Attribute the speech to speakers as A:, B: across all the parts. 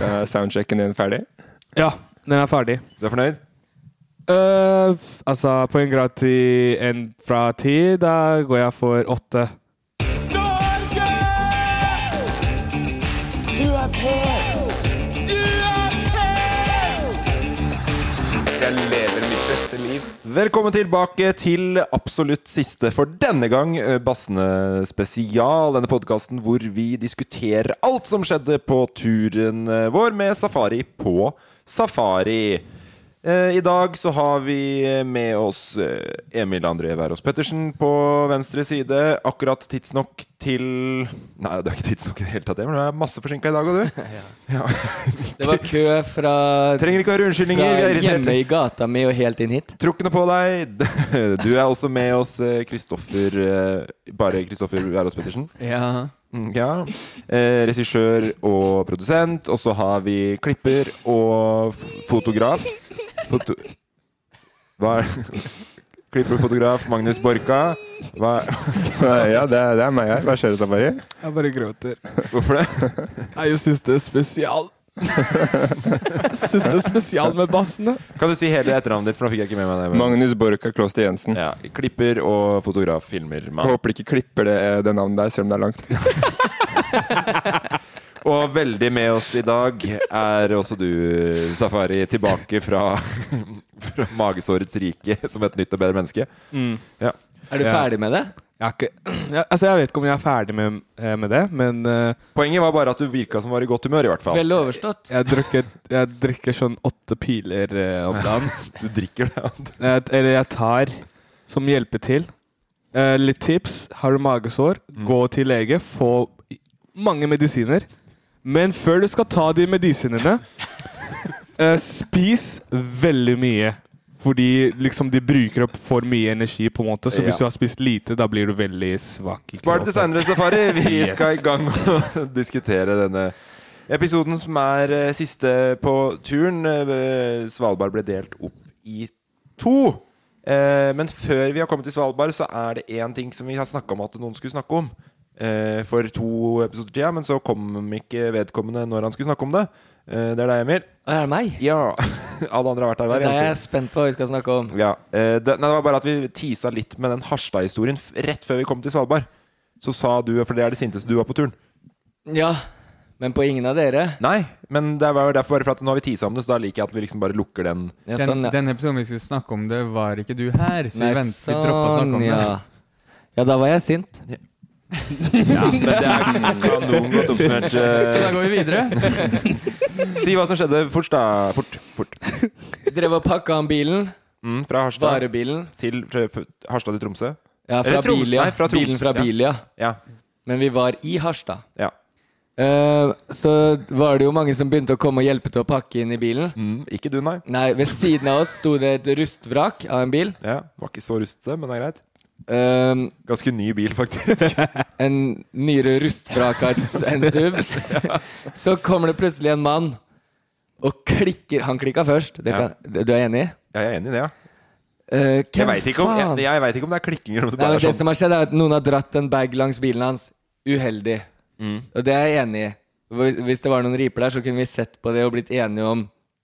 A: Er soundchecken din ferdig?
B: Ja, den er ferdig.
A: Du er fornøyd?
B: Øh, altså, på en grad til en fra ti, da går jeg for åtte.
A: Jeg lever mitt beste liv. Velkommen tilbake til absolutt siste for denne gang, eh, Bassene spesial. Denne podkasten hvor vi diskuterer alt som skjedde på turen eh, vår med safari på safari. Eh, I dag så har vi eh, med oss eh, Emil André Wærås Pettersen på venstre side. Akkurat tidsnok til Nei, du er ikke tidsnok i det hele tatt, Emil. Du er masse forsinka i dag, og du.
C: Det var kø fra,
A: Trenger ikke å høre
C: fra
A: unnskyldninger. Vi er irriterte.
C: hjemme i gata mi og helt inn hit.
A: Trukkene på deg. Du er også med oss, eh, Kristoffer eh, Bare Kristoffer Wærås Pettersen.
C: Ja.
A: Mm, Ja. Eh, Regissør og produsent. Og så har vi klipper og f- fotograf. Foto Hva er Klipper og fotograf Magnus Borka. Hva
D: Ja, det, det er meg her. Hva skjer, Safari?
B: Jeg bare gråter.
A: Hvorfor det?
B: Jeg syns det er spesial. jeg syns det er spesial med bassene.
A: Kan du si hele etternavnet ditt, for nå fikk jeg ikke med meg det. men-
D: Magnus Borka Kloster Jensen.
A: Ja, klipper og fotograf filmer.
D: Jeg
A: mann.
D: håper de ikke klipper det, eh, det navnet der, selv om det er langt.
A: Og veldig med oss i dag er også du, Safari, tilbake fra, fra magesårets rike som et nytt og bedre menneske. Ja.
C: Er du
B: Ja.
C: ferdig med det?
B: Jeg, er ikke, ja, altså, jeg vet ikke om jeg er ferdig med, eh, med det, men eh,
A: Poenget var bare at du virka som var i godt humør, i hvert fall.
C: Vel overstått.
B: jeg, drikker, jeg drikker sånn åtte piler eh, om dagen.
A: Du drikker det.
B: Jeg, Eh, eller jeg tar som hjelper til. Eh, litt tips. Har du magesår, gå til lege. Få i- mange medisiner. Men før du skal ta de medisinene, eh, spis veldig mye. Fordi liksom de bruker opp for mye energi, på en måte. Så
A: Ja.
B: hvis du har spist lite, da blir du veldig svak. i
A: Spar det til
B: kroppen.
A: seinere, Safari. Vi
B: Yes.
A: skal i gang med å diskutere denne episoden som er eh, siste på turen. Eh, Svalbard ble delt opp i to. Eh, Men før vi har kommet til Svalbard, så er det én ting som vi har snakka om at noen skulle snakke om. eh, For to episoder siden, men så kom ikke vedkommende når han skulle snakke om det. Eh, Det er deg, Emil.
C: Å, er det meg?
A: Ja. Alle andre har vært der hver
C: Det er
A: eneste
C: jeg spent på hva vi skal snakke om.
A: ja, eh, det, nei, det var bare at vi tisa litt med den Harstad-historien f- rett før vi kom til Svalbard. Så sa du, for det er det sinteste du var på turen.
C: Ja, men på ingen av dere.
A: Nei, men det var jo derfor bare for at nå har vi tisa om det, så da liker jeg at vi liksom bare lukker den.
C: Ja,
E: Den,
C: sånn, ja.
E: den episoden vi skulle snakke om, det var ikke du her. Så vi,
C: Nei, sånn,
E: vent, vi droppa å snakke om
C: ja.
E: det.
C: Ja, da var jeg sint.
A: Men det er kanon godt oppsummert.
E: Så
A: eh,
E: da går vi videre.
A: Si hva som skjedde fort, da. Fort. fort.
C: Drev og pakka om bilen.
A: Mm, fra Harstad
C: Varebilen.
A: til fra- fra Harstad til Tromsø.
C: Ja,
A: Eller
C: fra
A: Troms-
C: Bilia.
A: nei, fra Troms,
C: Bilen fra
A: ja.
C: Bilia.
A: Ja.
C: Men vi var i Harstad.
A: ja.
C: Eh, så var det jo mange som begynte å komme og hjelpe til å pakke inn i bilen.
A: Mm, ikke du, nei.
C: Nei, ved siden av oss sto det et rustvrak av en bil.
A: Ja, Var ikke så rustete, men det er greit.
C: Ehm,
A: Ganske ny bil, faktisk.
C: en nyere rustvrak av et- en SUV. Så kommer det plutselig en mann og klikker Han klikka først. Det kan, Du er enig?
A: Jeg er enig i det, ja.
C: Uh,
A: Jeg veit ikke, om- jeg, jeg vet ikke om det er klikking eller om det
C: Nei,
A: bare
C: men
A: er
C: det
A: sånn.
C: som har skjedd, er at noen har dratt en bag langs bilen hans. Uheldig.
A: Mm.
C: Og det er jeg enig i. Hvor- Hvis det var noen riper der, så kunne vi sett på det og blitt enige om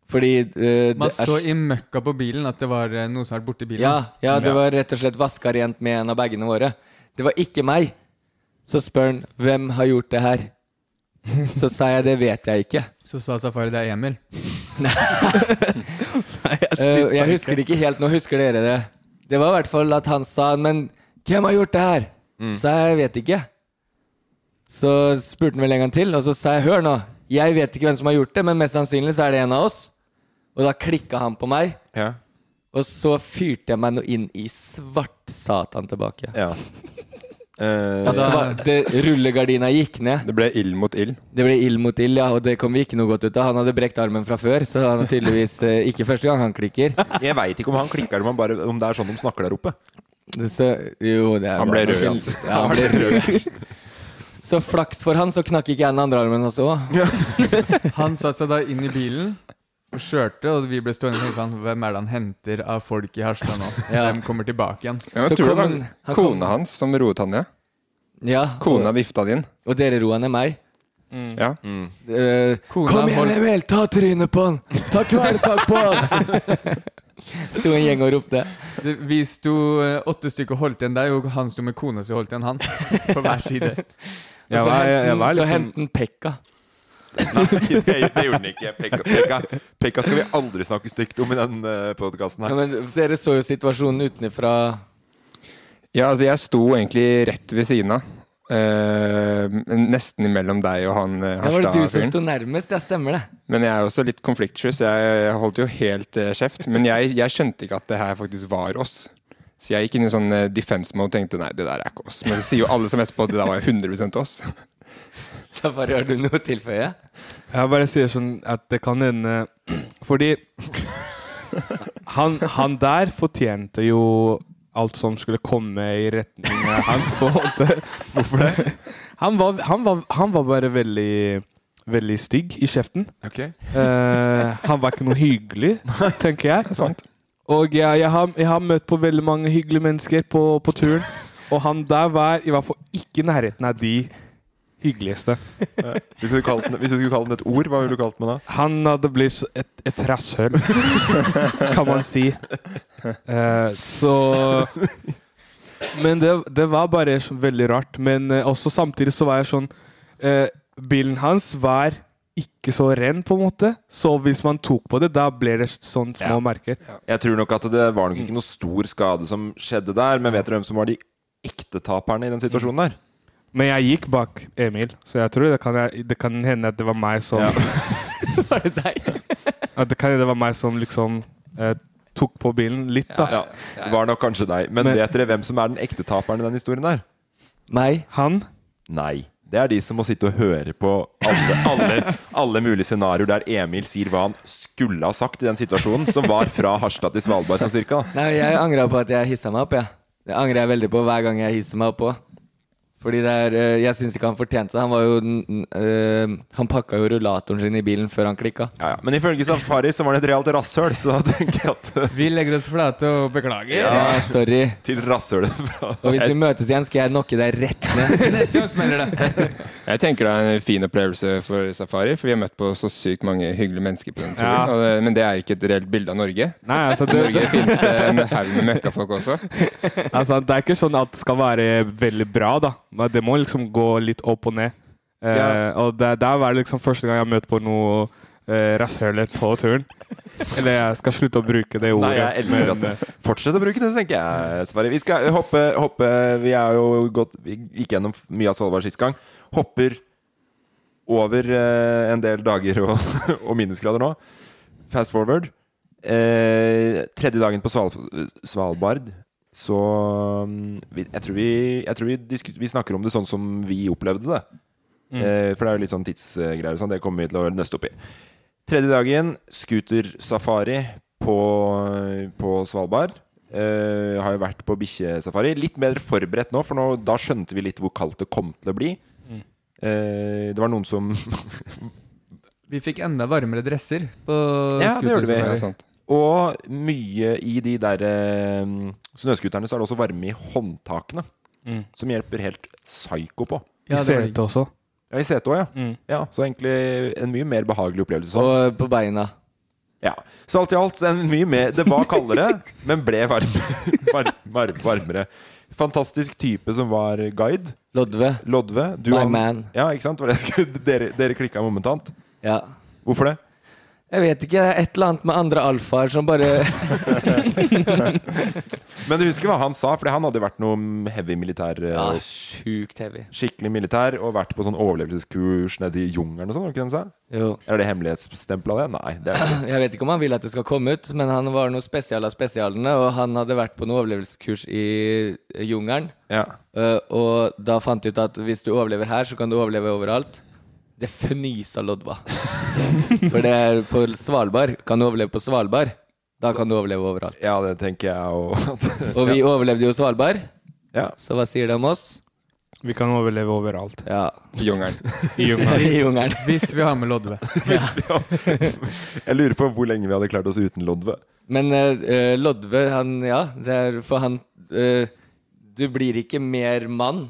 C: Fordi eh,
E: Man
C: det er
E: så i møkka på bilen at det var eh, noe som var borti bilen.
C: ja,
E: hans.
C: ja, det var rett og slett vaska rent med en av bagene våre. Det var ikke meg. Så spør han hvem har gjort det her. Så sa jeg det vet jeg ikke.
E: Så sa Safari det er Emil.
C: Eh, jeg husker det ikke helt. Nå husker dere det. Det var i hvert fall at han sa Men hvem har gjort det her? Så jeg vet ikke. Så spurte han vel en gang til, og så sa jeg hør nå. Jeg vet ikke hvem som har gjort det, men mest sannsynlig så er det en av oss. Og da klikka han på meg,
A: Ja.
C: og så fyrte jeg meg nå inn i svart satan tilbake.
A: Ja. Eh,
C: Da svarte rullegardina gikk ned.
F: Det ble ild mot ild.
C: Det ble ild mot ild, ja, og det kom vi ikke noe godt ut av. Han hadde brekt armen fra før, så han er tydeligvis eh, ikke første gang han klikker.
A: jeg veit ikke om han klikker eller om, han bare, om det er sånn de snakker der oppe.
C: Så, jo, det er
F: Han
C: bare
F: ble
C: noe
F: rød i
C: helt- Ja, han ble rød. Så flaks for han, så knakk ikke jeg den andre armen hans òg.
E: Han satte seg da inn i bilen og kjørte, og vi ble stående og tenkte sånn Hvem er det han henter av folk i Harstad nå?
C: Ja.
E: Hvem kommer tilbake igjen?
F: Ja, men
C: Så
F: jeg tror det
C: kom
F: var
C: han- han kom-
F: kona hans som roet han ned.
C: Ja,
F: Kona vifta det inn.
C: og dere roa ned meg. Mm.
F: Ja.
C: Eh, Kom igjen, Emil! Ta trynet på han! Ta kvelertak på han! Sto en gjeng og ropte.
E: Det, vi sto eh, åtte stykker og holdt igjen deg, og han sto med kona si og holdt igjen han. På hver side.
B: Jeg var, jeg, jeg var
C: Så
B: liksom
C: hent den pekka.
A: Det, det gjorde han ikke. Pekka, Pekka, Pekka skal vi aldri snakke stygt om i den uh, podkasten
C: Ja,
A: her.
C: men dere så jo situasjonen utenfra.
F: ja, altså jeg sto egentlig rett ved siden av. Eh, nesten imellom deg og han eh,
C: Ja, var det du som
F: Harstad-fyren.
C: sto nærmest? Ja, stemmer det.
F: Men jeg er også litt konfliktsky, så jeg, jeg holdt jo helt eh, kjeft. Men jeg, jeg skjønte ikke at det her faktisk var oss. Så jeg gikk inn i sånn eh, defense mode og tenkte nei, det der er ikke oss. Men så sier jo alle som etterpå at det der var jo 100 oss.
C: Da bare har du noe å tilføye?
B: Jeg bare sier sånn at det kan hende Fordi han, han der fortjente jo alt som skulle komme i retning hans. på en måte. Hvorfor det? Han var, han var, han var bare veldig, veldig stygg i kjeften.
A: Ok.
B: Eh, han var ikke noe hyggelig, tenker jeg.
F: sant.
B: Og jeg, jeg, har, jeg har møtt på veldig mange hyggelige mennesker på, på turen, og han der var i hvert fall ikke i nærheten av de hyggeligste.
A: Hvis du, kalte den, hvis du skulle kalt den et ord, hva ville du kalt den da?
B: Han hadde blitt så- et, et rasshøl, kan man si. Eh, så Men det, det var bare så veldig rart. Men eh, også samtidig så var jeg sånn eh, Bilen hans var ikke så ren, på en måte. Så hvis man tok på det, da ble det sånn små merker.
A: Jeg tror nok at det var nok ikke noe stor skade som skjedde der, men vet dere hvem som var de ekte taperne i den situasjonen der?
B: Men jeg gikk bak Emil, så jeg tror det kan, jeg, det kan hende at det var meg som
A: Ja.
C: Var det deg?
B: At det kan hende det var meg som liksom eh, tok på bilen litt, da.
A: Ja, det var nok kanskje deg. Men,
B: Men-
A: vet dere hvem som er den ekte taperen i den historien der?
C: Meg?
B: Han
A: Nei. Det er de som må sitte og høre på alle, alle, alle mulige scenarioer der Emil sier hva han skulle ha sagt i den situasjonen, som var fra Harstad til Svalbard sånn cirka. da.
C: Nei, jeg angra på at jeg hissa meg opp, jeg. Det angrer jeg veldig på hver gang jeg hisser meg opp òg. Fordi det er, eh, jeg syns ikke han fortjente det. Han var jo den- den, eh, Han pakka jo rullatoren sin i bilen før han klikka.
A: Ja, ja. Men ifølge Safari så var han et realt rasshøl, så da tenker jeg at eh,
E: Vi legger oss flate og beklager.
C: Ja, sorry.
A: Til rasshølet fra
C: Og hvis vi møtes igjen, skal jeg knocke deg rett ned.
E: Neste gang smeller det.
F: Jeg tenker det er en fin opplevelse for Safari, for vi har møtt på så sykt mange hyggelige mennesker på den turen.
B: Ja.
F: Og det, men det er ikke et reelt bilde av Norge.
B: Nei, altså
F: I
B: det,
F: Norge finnes det en haug med møkkafolk også.
B: Altså, det er ikke sånn at det skal være veldig bra, da. Men det må liksom gå litt opp og ned. Eh,
A: Ja.
B: Og det, der var det liksom første gang jeg møtte på noe eh, rasshøler på turen. Eller jeg skal slutte å bruke det ordet.
A: Nei, jeg elsker at det eh, Fortsett å bruke det, tenker jeg, Sverre. Vi skal hoppe, hoppe Vi er jo gått Vi gikk gjennom mye av Svolvær sist gang. Hopper over eh, en del dager og, og minusgrader nå. Fast forward. Eh, tredje dagen på Sval Svalbard. Så mm, vi, jeg tror, vi, jeg tror vi, disku- vi snakker om det sånn som vi opplevde det. Eh, for det er jo litt sånn tidsgreier og sånn. Det kommer vi til å nøste opp i. Tredje dagen, scootersafari på, på Svalbard. Eh, har jo vært på bikkjesafari. Litt bedre forberedt nå, for nå, da skjønte vi litt hvor kaldt det kom til å bli. Eh, det var noen som
B: Vi fikk enda varmere dresser på
A: Ja, det gjorde vi.
D: Det
B: scooterturen.
D: er sant.
A: Og mye i de der eh, snøskuterne så er det også varme i håndtakene. Som hjelper helt psyko på.
B: Ja,
E: I
B: det var digg.
E: setet også.
A: Ja, I setet òg, ja. ja. Så egentlig en mye mer behagelig opplevelse. Sånn.
C: Og på beina.
A: Ja. Så alt i alt, en mye mer Det var kaldere, men ble varme, var, var, varmere. Fantastisk type som var guide.
C: Lodve.
A: Lodve. du
C: My
A: og-
C: man.
A: Ja, ikke sant? Det var det jeg skulle- Dere, dere klikka momentant.
C: Ja.
A: Hvorfor det?
C: Jeg vet ikke. det er Et eller annet med andre alfaer som bare
A: Men du husker hva han sa, for han hadde jo vært noe heavy militær. eh,
C: Ja, sjukt heavy.
A: Skikkelig militær og vært på sånn overlevelseskurs nede i jungelen og sånn. var det ikke det han sa?
C: Jo.
A: Eller er det hemmelighetsstempla det? Nei. det er det ikke.
C: Jeg vet ikke om han ville at det skal komme ut, men han var noe spesial av spesialene, og han hadde vært på noe overlevelseskurs i eh, jungelen.
A: Ja.
C: eh, og da fant de ut at hvis du overlever her, så kan du overleve overalt. Det fnysa Lodva. For det er på Svalbard. Kan du overleve på Svalbard, da kan du overleve overalt.
A: ja, det tenker jeg òg.
C: Og vi overlevde jo Svalbard,
A: Ja.
C: så hva sier det om oss?
E: Vi kan overleve overalt.
C: Ja,
D: Jungelen.
C: i jungelen.
B: Hvis vi har med Lodve.
A: Jeg lurer på hvor lenge vi hadde klart oss uten Lodve.
C: Men eh, eh, Lodve, han Ja, det er for han eh, Du blir ikke mer mann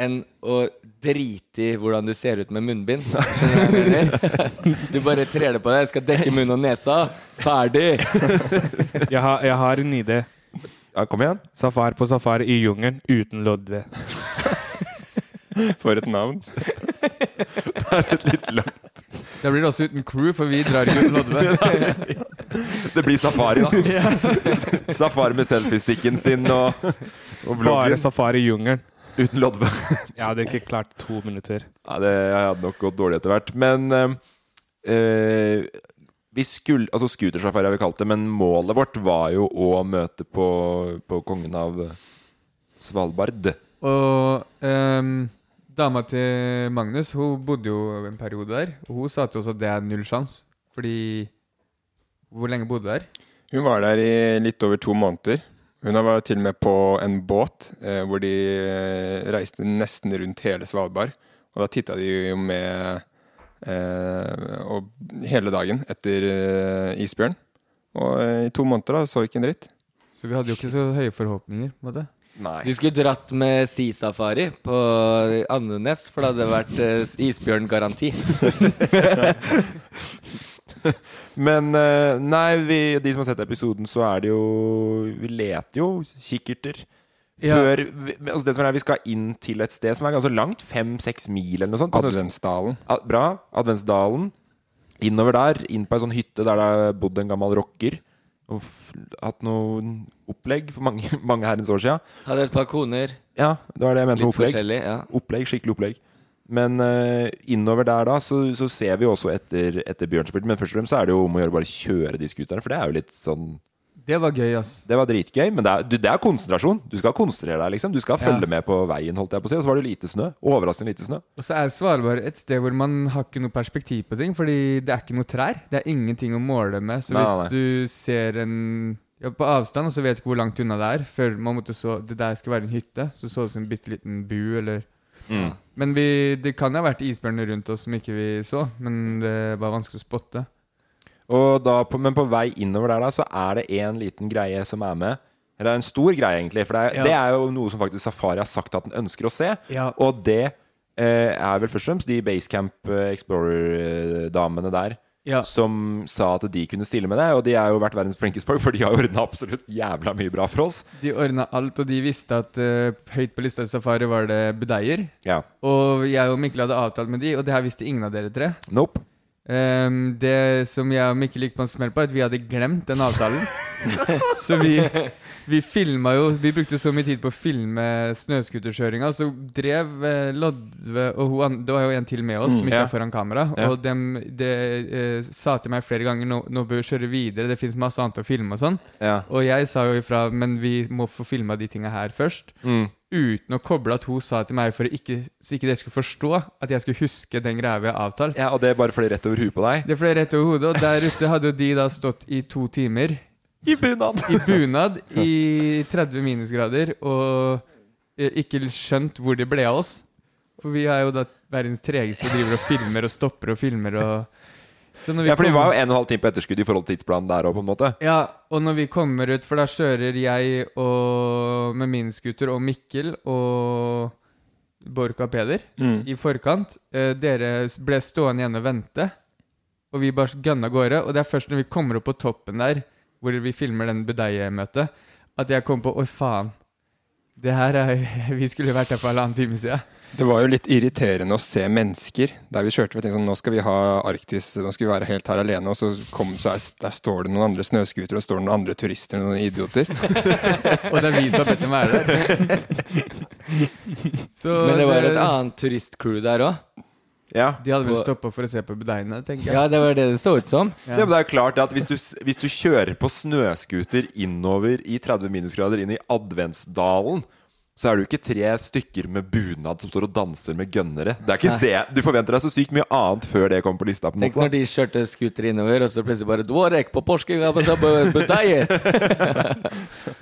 C: enn å drite i hvordan du ser ut med munnbind. Skjønner du hva jeg mener? Du bare trer det på deg. Jeg skal dekke munn og nesa. Ferdig!
E: Jeg har, jeg har en idé.
A: Ja, kom igjen.
E: Safari på safari i jungelen uten Lodve.
D: For et navn.
B: Da blir det også uten crew, for vi drar ikke uten Lodve.
A: Det blir safari, da. safari med selfiesticken sin og, og
E: Bare
A: vloggen
E: safari i jungelen.
A: uten Lodve.
E: Jeg hadde ikke klart to minutter.
A: Ja, det jeg hadde nok gått dårlig etter hvert. Men eh, eh, vi skulle Altså scootersafari har vi kalt det, men målet vårt var jo å møte på, på kongen av Svalbard.
B: Og ehm, dama til Eh, Magnus hun bodde jo en periode der. Og hun sa til oss at det er null sjanse. Fordi Hvor lenge bodde du der?
D: Hun var der i litt over to måneder. Hun var til og med på en båt eh, hvor de eh, reiste nesten rundt hele Svalbard. Og da titta de jo med eh, og hele dagen etter eh, isbjørn. Og eh, i to måneder da, så ikke en dritt.
B: Så vi hadde jo ikke så høye forhåpninger. på en måte.
C: De skulle dratt med Sea-safari på Andenes, for det hadde vært eh, isbjørngaranti.
A: Men eh, nei, vi, de som har sett episoden, så er det jo Vi leter jo kikkerter.
B: Ja.
A: Før, vi, altså det som er, vi skal inn til et sted som er ganske langt. Fem-seks mil eller noe sånt. på snøsk-
D: Adventsdalen.
A: Ad- Bra. Adventsdalen. Innover der. Inn på ei sånn hytte der det har bodd en gammel rocker. Og f hatt noe opplegg for mange, mange herrens år sia.
C: Hadde et par koner.
A: Ja, det var det jeg mente med
C: Litt
A: opplegg.
C: forskjellig. ja
A: Opplegg, skikkelig opplegg. Men eh, innover der da, så, så ser vi jo også etter, etter bjørnsprut. Men først og fremst så er det jo om å gjøre bare kjøre de scooterne, for det er jo litt sånn
B: Det var gøy, ass.
A: Det var dritgøy, men det er, du, det er konsentrasjon. Du skal konsentrere deg, liksom. Du skal følge med på veien, holdt jeg på å si. Og så var det lite snø. Overraskende lite snø.
B: Og så er Svalbard et sted hvor man har ikke noe perspektiv på ting, fordi det er ikke noe trær. Det er ingenting å måle med. Så
A: Nei, nei.
B: hvis du ser en ja, på avstand, og så vet du ikke hvor langt unna det er Før man måtte så det der skulle være en hytte, så så det ut som en bitte liten bu, eller Men vi, det kan ha vært isbjørner rundt oss som ikke vi så, men det var vanskelig å spotte.
A: Og da, på, men på vei innover der da, så er det en liten greie som er med. Eller en stor greie, egentlig. For det er,
B: Ja.
A: det er jo noe som faktisk Safari har sagt at den ønsker å se.
B: Ja.
A: Og det eh, er vel først og fremst de Basecamp eh, Explorer-damene der.
B: Ja.
A: Som sa at de kunne stille med det, og de har jo vært verdens flinkeste folk, for de har ordna absolutt jævla mye bra for oss.
B: De ordna alt, og de visste at eh, høyt på lista til Safari var det budeier.
A: Ja.
B: Og jeg og Mikkel hadde avtalt med de, og det her visste ingen av dere tre.
A: Nope.
B: Ehm, det som jeg og Mikkel gikk på en smell på, er at vi hadde glemt den avtalen. så vi, vi filma jo Vi brukte så mye tid på å filme snøscooterkjøringa. Så drev eh, Lodve og hun, an- Det var jo en til med oss som ikke
A: Mm, ja.
B: er foran kamera.
A: Ja.
B: Og dem det, eh, sa til meg flere ganger nå, nå bør vi kjøre videre, det fins masse annet å filme og sånn.
A: Ja.
B: Og jeg sa jo ifra, men vi må få filma de tinga her først.
A: Mm.
B: Uten å koble at hun sa til meg for å ikke, så ikke dere skulle forstå at jeg skulle huske den greia vi har avtalt.
A: ja, og det bare fløy rett over huet på deg.
B: Det fløy rett over hodet, og der ute hadde jo de da stått i to timer
A: I bunad!
B: i bunad i 30 minusgrader og eh, ikke skjønt hvor det ble av oss. For vi er jo da verdens tregeste driver og filmer og stopper og filmer og Så når vi
A: Ja, for de
B: kommer-
A: var jo en og en halv time på etterskudd i forhold til tidsplanen der òg, på en måte.
B: ja, og når vi kommer ut, for da kjører jeg og, med min scooter og Mikkel og Borch og Peder i forkant. Eh, dere s- ble stående igjen og vente, og vi bare gønna av gårde. Og det er først når vi kommer opp på toppen der, hvor vi filmer den budeie-møtet, at jeg kom på Oi, faen. Det her er Vi skulle vært her for halvannen time siden.
D: Det var jo litt irriterende å se mennesker der vi kjørte. Vi tenkte sånn, nå skal vi ha Arktis, nå skal vi være helt her alene. Og så, kom, så er, der står det noen andre snøscootere, og står det noen andre turister, noen idioter.
B: Og det er vi som har bedt dem være der. Så
C: Men det var et annet turistcrew der òg.
A: Ja.
B: De hadde vel stoppa for å se på budeiene, tenker jeg.
C: Ja, det var det det så ut som.
A: Ja. men det er jo klart at hvis du, s- hvis du kjører på snøskuter innover i 30 minusgrader inn i Adventsdalen, så er det jo ikke tre stykker med bunad som står og danser med gønnere. Det er ikke det. Du forventer deg så sykt mye annet før det kommer på lista. på en
C: Tenk
A: måte
C: når de kjørte scooter innover, og så plutselig bare Dvorek på Porsche, ja, på- på- på deg!»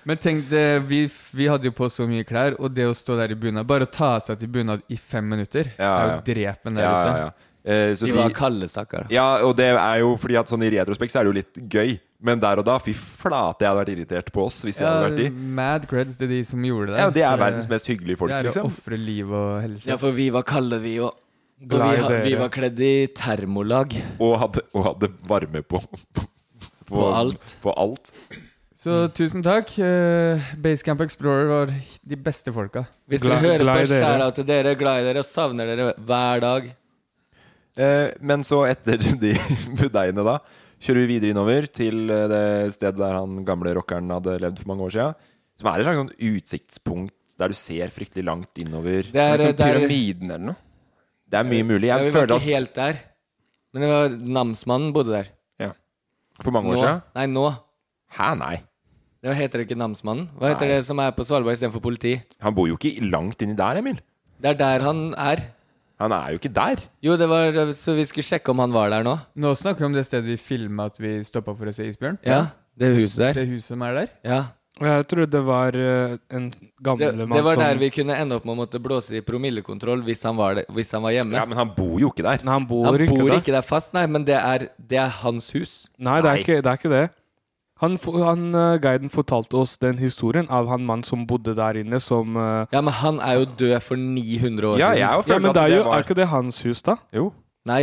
B: Men tenk det, vi, vi hadde jo på så mye klær, og det å stå der i bunad Bare å ta av seg til bunad i fem minutter
A: Ja,
B: er
A: ja.
B: jo drepen der
A: Ja, ja,
B: ute.
A: ja. Eh, så
C: De var kalde stakkar.
A: ja, og det er jo fordi at sånn i retrospekt så er det jo litt gøy. Men der og da, fy flate, jeg hadde vært irritert på oss hvis jeg hadde vært de.
B: mad creds til de som gjorde det.
A: Ja, det er
B: For,
A: verdens mest hyggelige folk,
B: Det er å
A: liksom.
B: ofre liv og helse.
C: Ja, for vi var kalde, vi òg. Og
E: Glad i
C: vi, ha-
E: dere.
C: vi var kledd i termolag.
A: Og hadde, og hadde varme på på,
C: På alt.
A: På alt.
B: Så
C: Mm.
B: tusen takk. eh, Basecamp Explorer var de beste folka.
C: Hvis dere
E: Glad-
C: hører
E: glad i
C: på,
E: dere.
C: skjæra til dere, glad i dere, og savner dere hver dag.
A: Eh, men så etter de budeiene da Kjører vi videre innover til eh, det stedet der han gamle rockeren hadde levd for mange år siden Som er et slags sånn utsiktspunkt der du ser fryktelig langt innover
C: Det er,
D: Sånn
C: det er,
D: pyramiden eller noe.
A: Det er mye mulig
C: ja,
A: Jeg
C: vi var
A: føler
C: ikke
A: at
C: helt der. Men det var namsmannen bodde der.
D: Ja.
A: for mange
C: Nå.
A: år siden
C: Nei, nå.
A: Hæ, nei
C: Det heter ikke namsmannen. Hva heter
A: Nei.
C: det som er på Svalbard istedenfor politi?
A: Han bor jo ikke langt inni der, Emil
C: Det er der han er.
A: Han er jo ikke der
C: Jo, det var så vi skulle sjekke om han var der nå.
B: Nå snakker vi om det stedet vi filma at vi stoppa for å se isbjørn.
C: Ja, det huset der.
B: Det huset som er der.
C: Ja.
E: Jeg trodde det var eh, en
C: Det,
E: gammel
C: det
E: mann
C: var
E: som
C: der vi kunne ende opp med å måtte blåse i promillekontroll hvis han var, der, hvis han var hjemme.
A: Ja, men han bor jo ikke der
E: Nei, han bor,
C: Han
E: ikke
C: bor
E: der.
C: ikke der fast, nei, men det er, det er hans hus.
E: Nei,
A: Nei.
E: det er ikke det. Er ikke det. Han, fo- han, eh, guiden fortalte oss den historien av han mannen som bodde der inne, som eh,
C: Ja, men han er jo død for 900 år
A: Ja,
C: siden.
A: jeg
E: Ja,
A: føler
E: men det
A: at
E: er,
A: det
E: jo, er
A: var
E: ikke det hans hus, da?
A: Jo
C: Nei,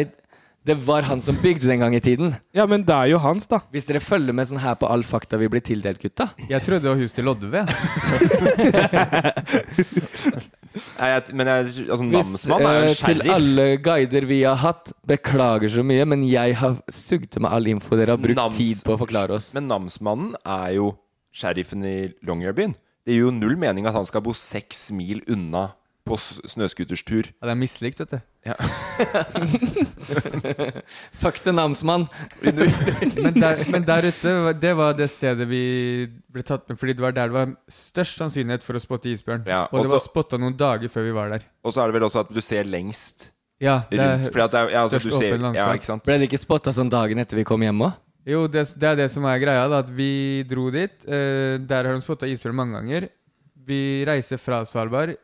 C: det var han som bygde den gang i tiden.
E: Ja, men det er jo hans, da.
C: Hvis dere følger med sånn her på all fakta vi blir tildelt, gutta.
B: Jeg trodde det var huset til Lodve. ja.
A: Nei, jeg, Men jeg, altså,
C: Hvis,
A: namsmann er jo
C: eh,
A: en
C: til
A: sheriff
C: alle guider vi har hatt, beklager så mye, men jeg har sugd til meg all info dere har brukt
A: Nams-
C: tid på å forklare oss.
A: Men namsmannen er jo sheriffen i Longyearbyen. Det gir jo null mening at han skal bo seks mil unna på s- snøskuterstur.
B: Det er mislikt, vet du.
C: Fuck the namsmann!
B: Men der, men der ute, det var det stedet vi ble tatt med, fordi det var der det var størst sannsynlighet for å spotte isbjørn.
A: Ja,
B: og det
A: også-
B: var spotta noen dager før vi var der.
A: Og så er det vel også at du ser lengst
B: Ja, det er
A: rundt. Fordi at det er, ja, altså, du
B: størst
A: ser,
B: åpen landskap.
A: ja, ikke sant?
C: Ble det ikke spotta sånn dagen etter vi kom hjem òg?
B: Jo, det, det er det som er greia, da, at vi dro dit. eh, der har de spotta isbjørn mange ganger. Vi reiser fra Svalbard.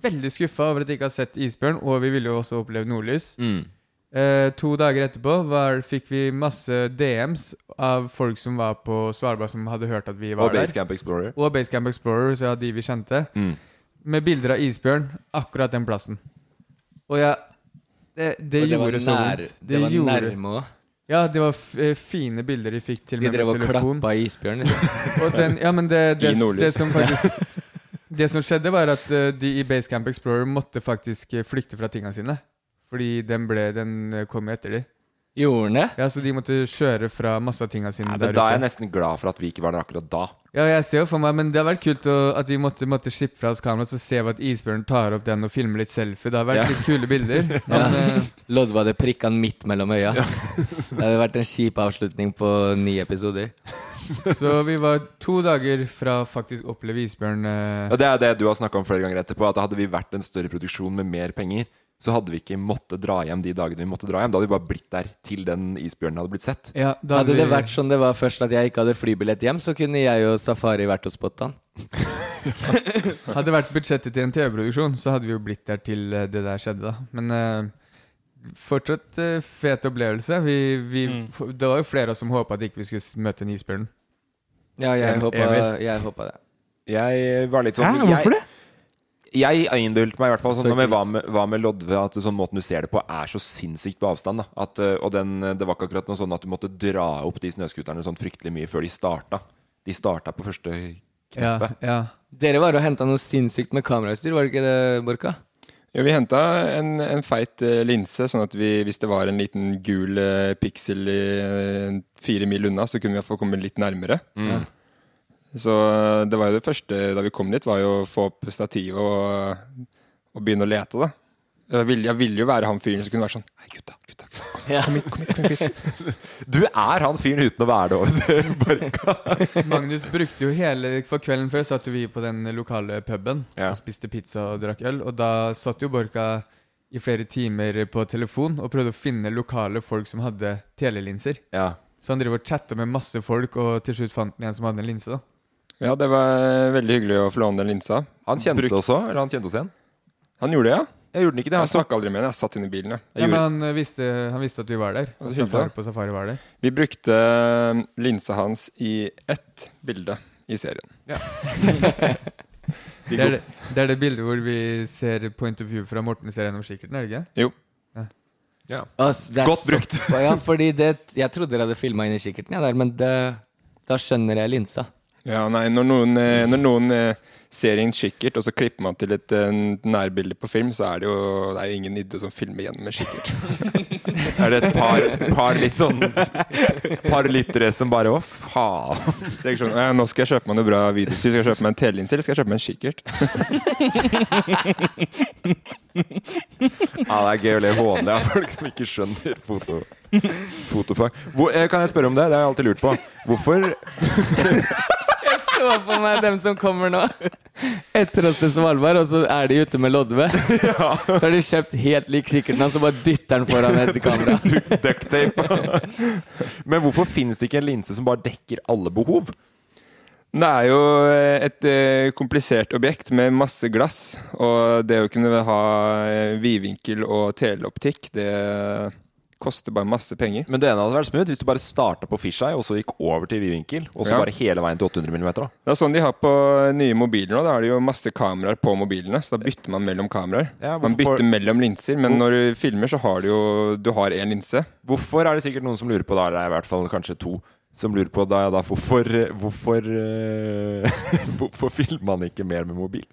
B: Veldig skuffa over at de ikke har sett isbjørn, og vi ville jo også oppleve nordlys.
A: Mm.
B: Eh, to dager etterpå var, fikk vi masse DMs av folk som var på Svalbard, som hadde hørt at vi var
A: Og
B: der.
A: Basecamp Explorer.
B: og Basecamp Explorer, så ja, de vi kjente,
A: Mm.
B: med bilder av isbjørn akkurat den plassen. Og jeg Det, det,
C: Og
B: gjorde så
C: nær-
B: vondt.
C: Det var
B: gjorde-
C: nærme òg.
B: Ja, det var f eh, fine bilder vi fikk til
C: De
B: med
C: drev og
B: min telefon.
C: klappa i isbjørn. Liksom.
B: Og den, ja, men det, det,
D: I
B: det,
D: nordlys.
B: som faktisk Det som skjedde, var at eh, de i Basecamp Explorer måtte faktisk eh, flykte fra tingene sine. Fordi den, ble, den eh, kom jo etter de.
C: Gjorde han det?
B: Ja, Så de måtte kjøre fra masse av tingene sine
A: Nei,
B: der
A: men da er jeg nesten glad for at vi ikke var der akkurat da.
B: Ja, jeg ser jo for meg, men det hadde vært kult å, at vi måtte, måtte slippe fra oss kameraet, så ser vi at isbjørnen tar opp den og filmer litt selfie. Det hadde vært
A: Ja.
B: litt kule bilder.
C: Ja.
B: Men, eh,
C: Lodva hadde prikka han midt mellom øya. Det hadde vært en kjip avslutning på ni episoder.
B: så vi var to dager fra faktisk å oppleve isbjørn. eh,
A: Og det er det du har snakka om flere ganger etterpå, at hadde vi vært en større produksjon med mer penger, så hadde vi ikke måttet dra hjem de dagene vi måtte dra hjem. Da hadde vi bare blitt der til den isbjørnen hadde blitt sett.
B: Ja, da
C: Hadde det
B: vi-
C: vært sånn det var først, at jeg ikke hadde flybillett hjem, så kunne jeg og Safari vært og spotta han.
B: Hadde det vært budsjettet til en TV-produksjon, så hadde vi jo blitt der til eh, det der skjedde, da. Men eh, fortsatt eh, fet opplevelse. Vi, vi,
C: Mm.
B: f- Det var jo flere av oss som håpa at ikke vi skulle s- møte en isbjørn.
C: Ja, jeg
B: Em-
C: håpa,
B: Emil?
C: jeg håpa det.
A: Jeg var litt sånn jeg,
E: det?
A: Jeg innbilte meg i hvert fall sånn
C: Så
A: når vi
C: ikke
A: var med, var med Lodve, at sånn måten du ser det på, er så sinnssykt på avstand. Da. At, eh, og den, eh, det var ikke akkurat noe sånn at du måtte dra opp de snøskuterne sånn fryktelig mye før de starta. De starta på første kneppet.
B: ja.
C: Dere var og henta noe sinnssykt med kamerautstyr, var det ikke det, Borka?
D: Ja, vi henta en, en feit eh, linse, sånn at vi, hvis det var en liten gul eh, piksel i, eh, fire mil unna, så kunne vi iallfall komme litt nærmere.
C: Mm.
D: Så eh, det var jo det første da vi kom dit, var jo å få opp stativet og, og begynne å lete, da. Jeg ville, jeg ville jo være han fyren som kunne være sånn Hei, gutta, gutta, gutta kom,
C: Ja.
D: kom hit, kom hit, kom hit, kom hit.
A: Du er han fyren uten å være det. vet du, Borka.
B: Magnus brukte jo hele For kvelden før satt jo vi på den lokale puben
A: Ja.
B: og spiste pizza og drakk øl. Og da satt jo Borka i flere timer på telefon og prøvde å finne lokale folk som hadde telelinser.
A: Ja.
B: Så han driver og chatta med masse folk, og til slutt fant han en som hadde en linse. da
D: Ja, det var veldig hyggelig å få låne den linsa.
A: Han kjente
D: Brukt-
A: oss også, eller han kjente oss igjen?
D: Han gjorde det, ja.
A: Jeg gjorde den ikke det.
D: Jeg
A: Han
D: snakka aldri med henne. Jeg satt inne i bilen. jeg.
B: Ja,
D: Jeg
B: men
D: gjorde,
B: han eh, visste, han visste at vi var der. Og
D: så hyggelig,
B: safari
D: da.
B: på safari var der.
D: vi brukte eh, linsa hans i ett bilde i serien.
B: Det er det, det er det bildet hvor vi ser på intervju fra Morten ser gjennom kikkerten, er det ikke?
D: Jo.
C: Altså, det er
A: Godt
C: så-
A: brukt.
C: ja, fordi det, jeg trodde dere hadde filma inn i kikkerten, jeg der, men det, da skjønner jeg linsa.
D: Ja, nei, når noen, eh, når noen eh, ser en kikkert, og så klipper man til et eh, nærbilde på film, så er det jo, det er jo ingen idé som filmer gjennom en kikkert.
A: er det et par, par litt sånn Par lyttere som bare Å, faen.
D: Så jeg sånn, «Eh, nå skal jeg kjøpe meg noe bra videostyr. Skal jeg kjøpe meg en telelinse, eller skal jeg kjøpe meg en kikkert?
A: Ja, det er gøy å le hånlig av folk som ikke skjønner foto, fotofag. Hvor, eh, kan jeg spørre om det? Det har jeg alltid lurt på. Hvorfor
C: Så for meg dem som kommer nå, etter oss til Svalbard, og så er de ute med Lodve. Så har de kjøpt helt lik kikkerten hans, og bare dytter den foran et kamera.
A: ducktape? Men hvorfor finnes det ikke en linse som bare dekker alle behov?
D: Det er jo eh, et eh, komplisert objekt med masse glass, og det å kunne ha eh, vidvinkel og teleoptikk, det koster bare masse penger.
A: Men det ene hadde vært smooth hvis du bare starta på fisheye og så gikk over til vidvinkel, og
D: Ja.
A: så bare hele veien til 800 millimeter. da.
D: Det er sånn de har på nye mobiler nå. Da er det jo masse kameraer på mobilene, så da bytter man mellom kameraer.
A: Ja, hvorfor-
D: man bytter mellom linser, men når du filmer, så har du jo Du har én linse.
A: Hvorfor er det sikkert noen som lurer på, da er det i hvert fall kanskje to som lurer på da, da hvorfor Hvorfor, eh, hvorfor filmer man ikke mer med mobil?